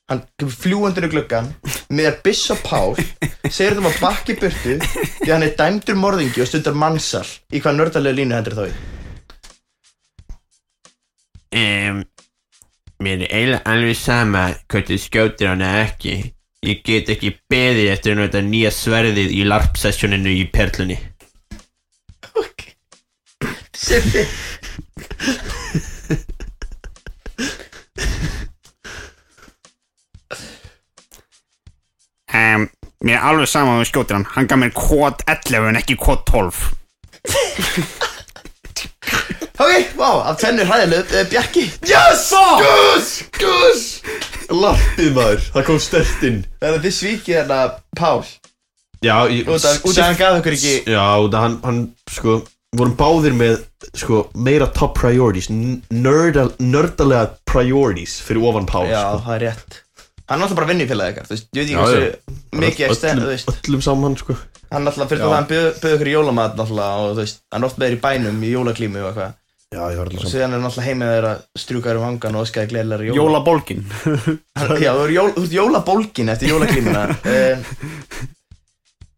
hann kemur fljúandur í gluggan meðar Biss og Pál segir þeim að bakki burtu því hann er dæmdur morðingi og stundar mannsal í hvað nördalega línu hendur þá í
um, Mér er eiginlega alveg sama hvort þið skjótir hana ekki Ég get ekki beðið eftir að nota nýja sverðið í larpsessjóninu í perlunni
Sippi
um, Mér er alveg sama að þú skjótir hann Hann gaf mér kót 11 en ekki kót 12
ok, Nei, vá, af tvennu hræðilegu uh, Bjarki
Yes! Yes! Yes! Lappið maður, það kom stert inn
Það er að þið svíkið hérna Pál
Já, ég
Út af út af hann gaf okkur ekki
Já, út af hann, hann, sko vorum báðir með, sko, meira top priorities n- nörda, nördalega priorities fyrir ofan Pál
Já,
sko.
það er rétt Hann er alltaf bara vinnufélagið ykkar, þú veist, ég veit
Já,
ekki hversu mikið er stend,
öllum,
þú veist
öllum saman, sko
Hann alltaf fyrir það að hann bauð okkur í jólamat náttúrulega og þú veist, hann er oft með þér í bænum í jólaklímu og eitthvað
Já, ég var alltaf
og
saman
síðan er hann alltaf heimið þér að strjúka þér um hangan og öskaði gleðilegar jóla,
Jólabólkin
Hann- Já, þú ert jól, þú ert jólabólgin eftir jólaklímuna um,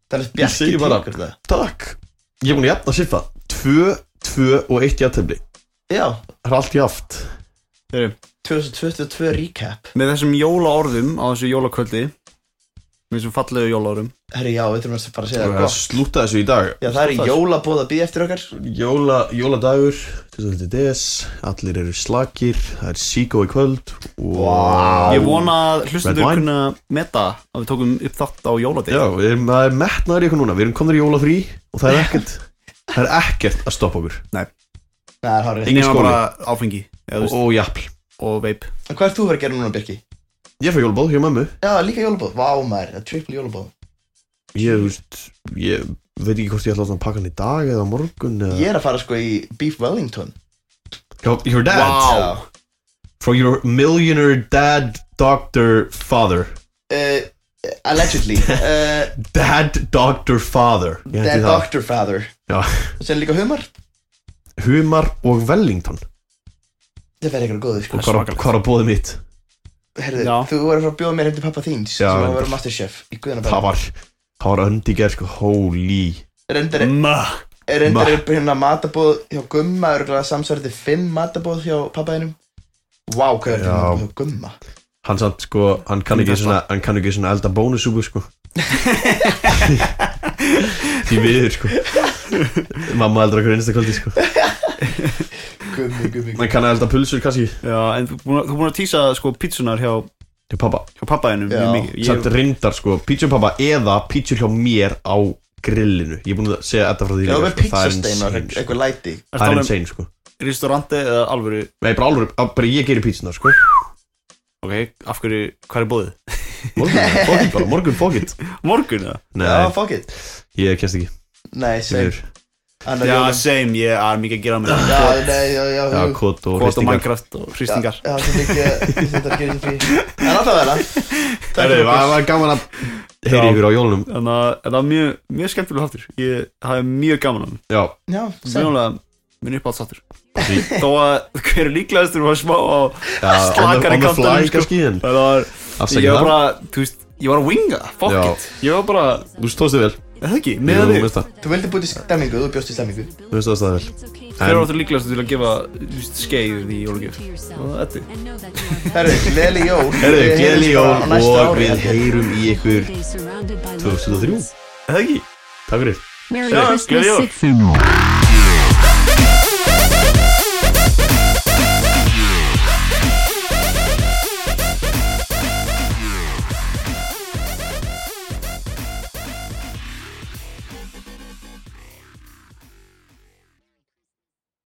Það er
Ég
bjarki
segi bara-
tíkur það
Takk Ég er búin að jafna sér það 2, 2 og 1 jafntefni
Já,
Það er allt jaft
2022 recap
Með þessum jólaorðum á þessu jólakvöldi Með þessum fallegu jólaorðum
Herri, já, við þurfum að fara að segja
Það er
það
að
gott
slúta þessu í dag
Já, það er jólabóð að býða eftir okkar
Jóla, jóladagur 25. des Allir eru slakir Það er síkó í kvöld wow.
Ég vona að hlustendur
Red wine.
kunna meta að við tókum upp þátt á jóladegi
Já, við erum, það er metnaður í okkur núna Við erum komnir í jólafrí Og það er ekkert Það er ekkert að stoppa okkur
Nei, það er hárið
Engin
Nema
skóli
bara áfengi eða,
Og,
og,
og jafnl
og veip
En hvað ert þú að vera að gera núna, Birki?
Ég fæ jólabóð hjá mömmu
Já, líka jólabóð, vá maður, það er triple jólabóð
Ég, þú veist Ég veit ekki hvort ég ætla að láta hann pakka hann í dag Eða á morgun eða...
Ég er að fara sko í Beef Wellington
Your, your dad
Wow.
From your millionaire dad doctor father
uh, Allegedly uh,
Dad doctor father Ég
The
heiti það.
Doctor Father
Já.
Og sen líka humar
Humar og Wellington
Það fer eitthvað góðu sko
Og hvað hvað er að bóði mitt?
Herðu,
Já.
þú verður frá að bjóða mér heim til pappa þíns
Já,
Sem að
reyndar.
vera masterchef í
Það
Guðanabæð
var Það var öndi gerð sko Holy
Reyndar er-
Ma
reyndar
Ma.
er hérna matabóð hjá Gumma Örgulega samsvarði fimm matabóð hjá pappa þínum Vá, hvað er
Já.
þetta matabóð hjá Gumma
Hann samt sko Hann kann ekki svona Hann kann ekki svona elda bónusúpu sko Því miður sko Mamma eldar okkur einsta kvöldi sko
Gummi, gummi, gummi
Hann kann að elda pulsur kannski
Já, en þú búin að, þú búin að týsa sko pítsunar hjá,
Til pappa
hjá pappaðinum
Já.
Samt
mikið Ég,
reyndar sko Pítsur pappa eða pítsur hjá mér á grillinu Ég er búin að segja þetta frá því
Já,
líka,
með
sko. Það er
pizzastein og
insane, sko.
eitthvað læti
er
Það er
það um
insane sko
restauranti eða alvöru
Nei, bara alveg, bara ég gerir pítsunar sko
Ok, af hverju, hvað er bóðið?
Morgun, fokkitt bara, morgun, fokkitt
Morgun eða?
Já,
Nei,
fuck it
ég kemst ekki
Nei,
Því
sem
miður.
Annar
Já,
jólum
same, ég er mikið að gera með það
Já, nei, já, já,
Já,
já
kót og
Kvot og
hristingar
Minecraft og hristingar
Já, það er mikið Þetta gerir því En alltaf vel Takk
Það
fyrir okkur
var gaman að heyri
Já.
ykkur á jólunum
Þannig að þetta var mjög, mjög skemmtilega þáttur Ég hafði mjög gaman hann
Já,
Já, sem
Mjögulega minn uppátt þáttur Þó að hver er líklegastur var smá á
já on the-
slakari
on the fly
kantanum, sko.
kannski en
Það var, ég
Afsakið
var
það
bara, þú veist, ég var að winga það, Fuck
Já.
it Ég var bara,
Þú stóðst þig vel Jú,
eða ekki, með
Þú
þig
veist það,
Þú vildi búið í stemmingu Þú bjóst í stemmingu
þú veist það það vel
Hver var
En
áttur líklegastur til að gefa, þú veist, skeið í jólugjöf Það var þetta
Herru, gleðli jól
Herru,
Við
gleðileg
heyrumst
jól
bara á næsta
og
ári,
við
held ég.
heyrum í ykkur
2003
2003
Eða ekki
Takk fyrir
Merry
Já, gleðileg
Christmas
jól.
Sigþór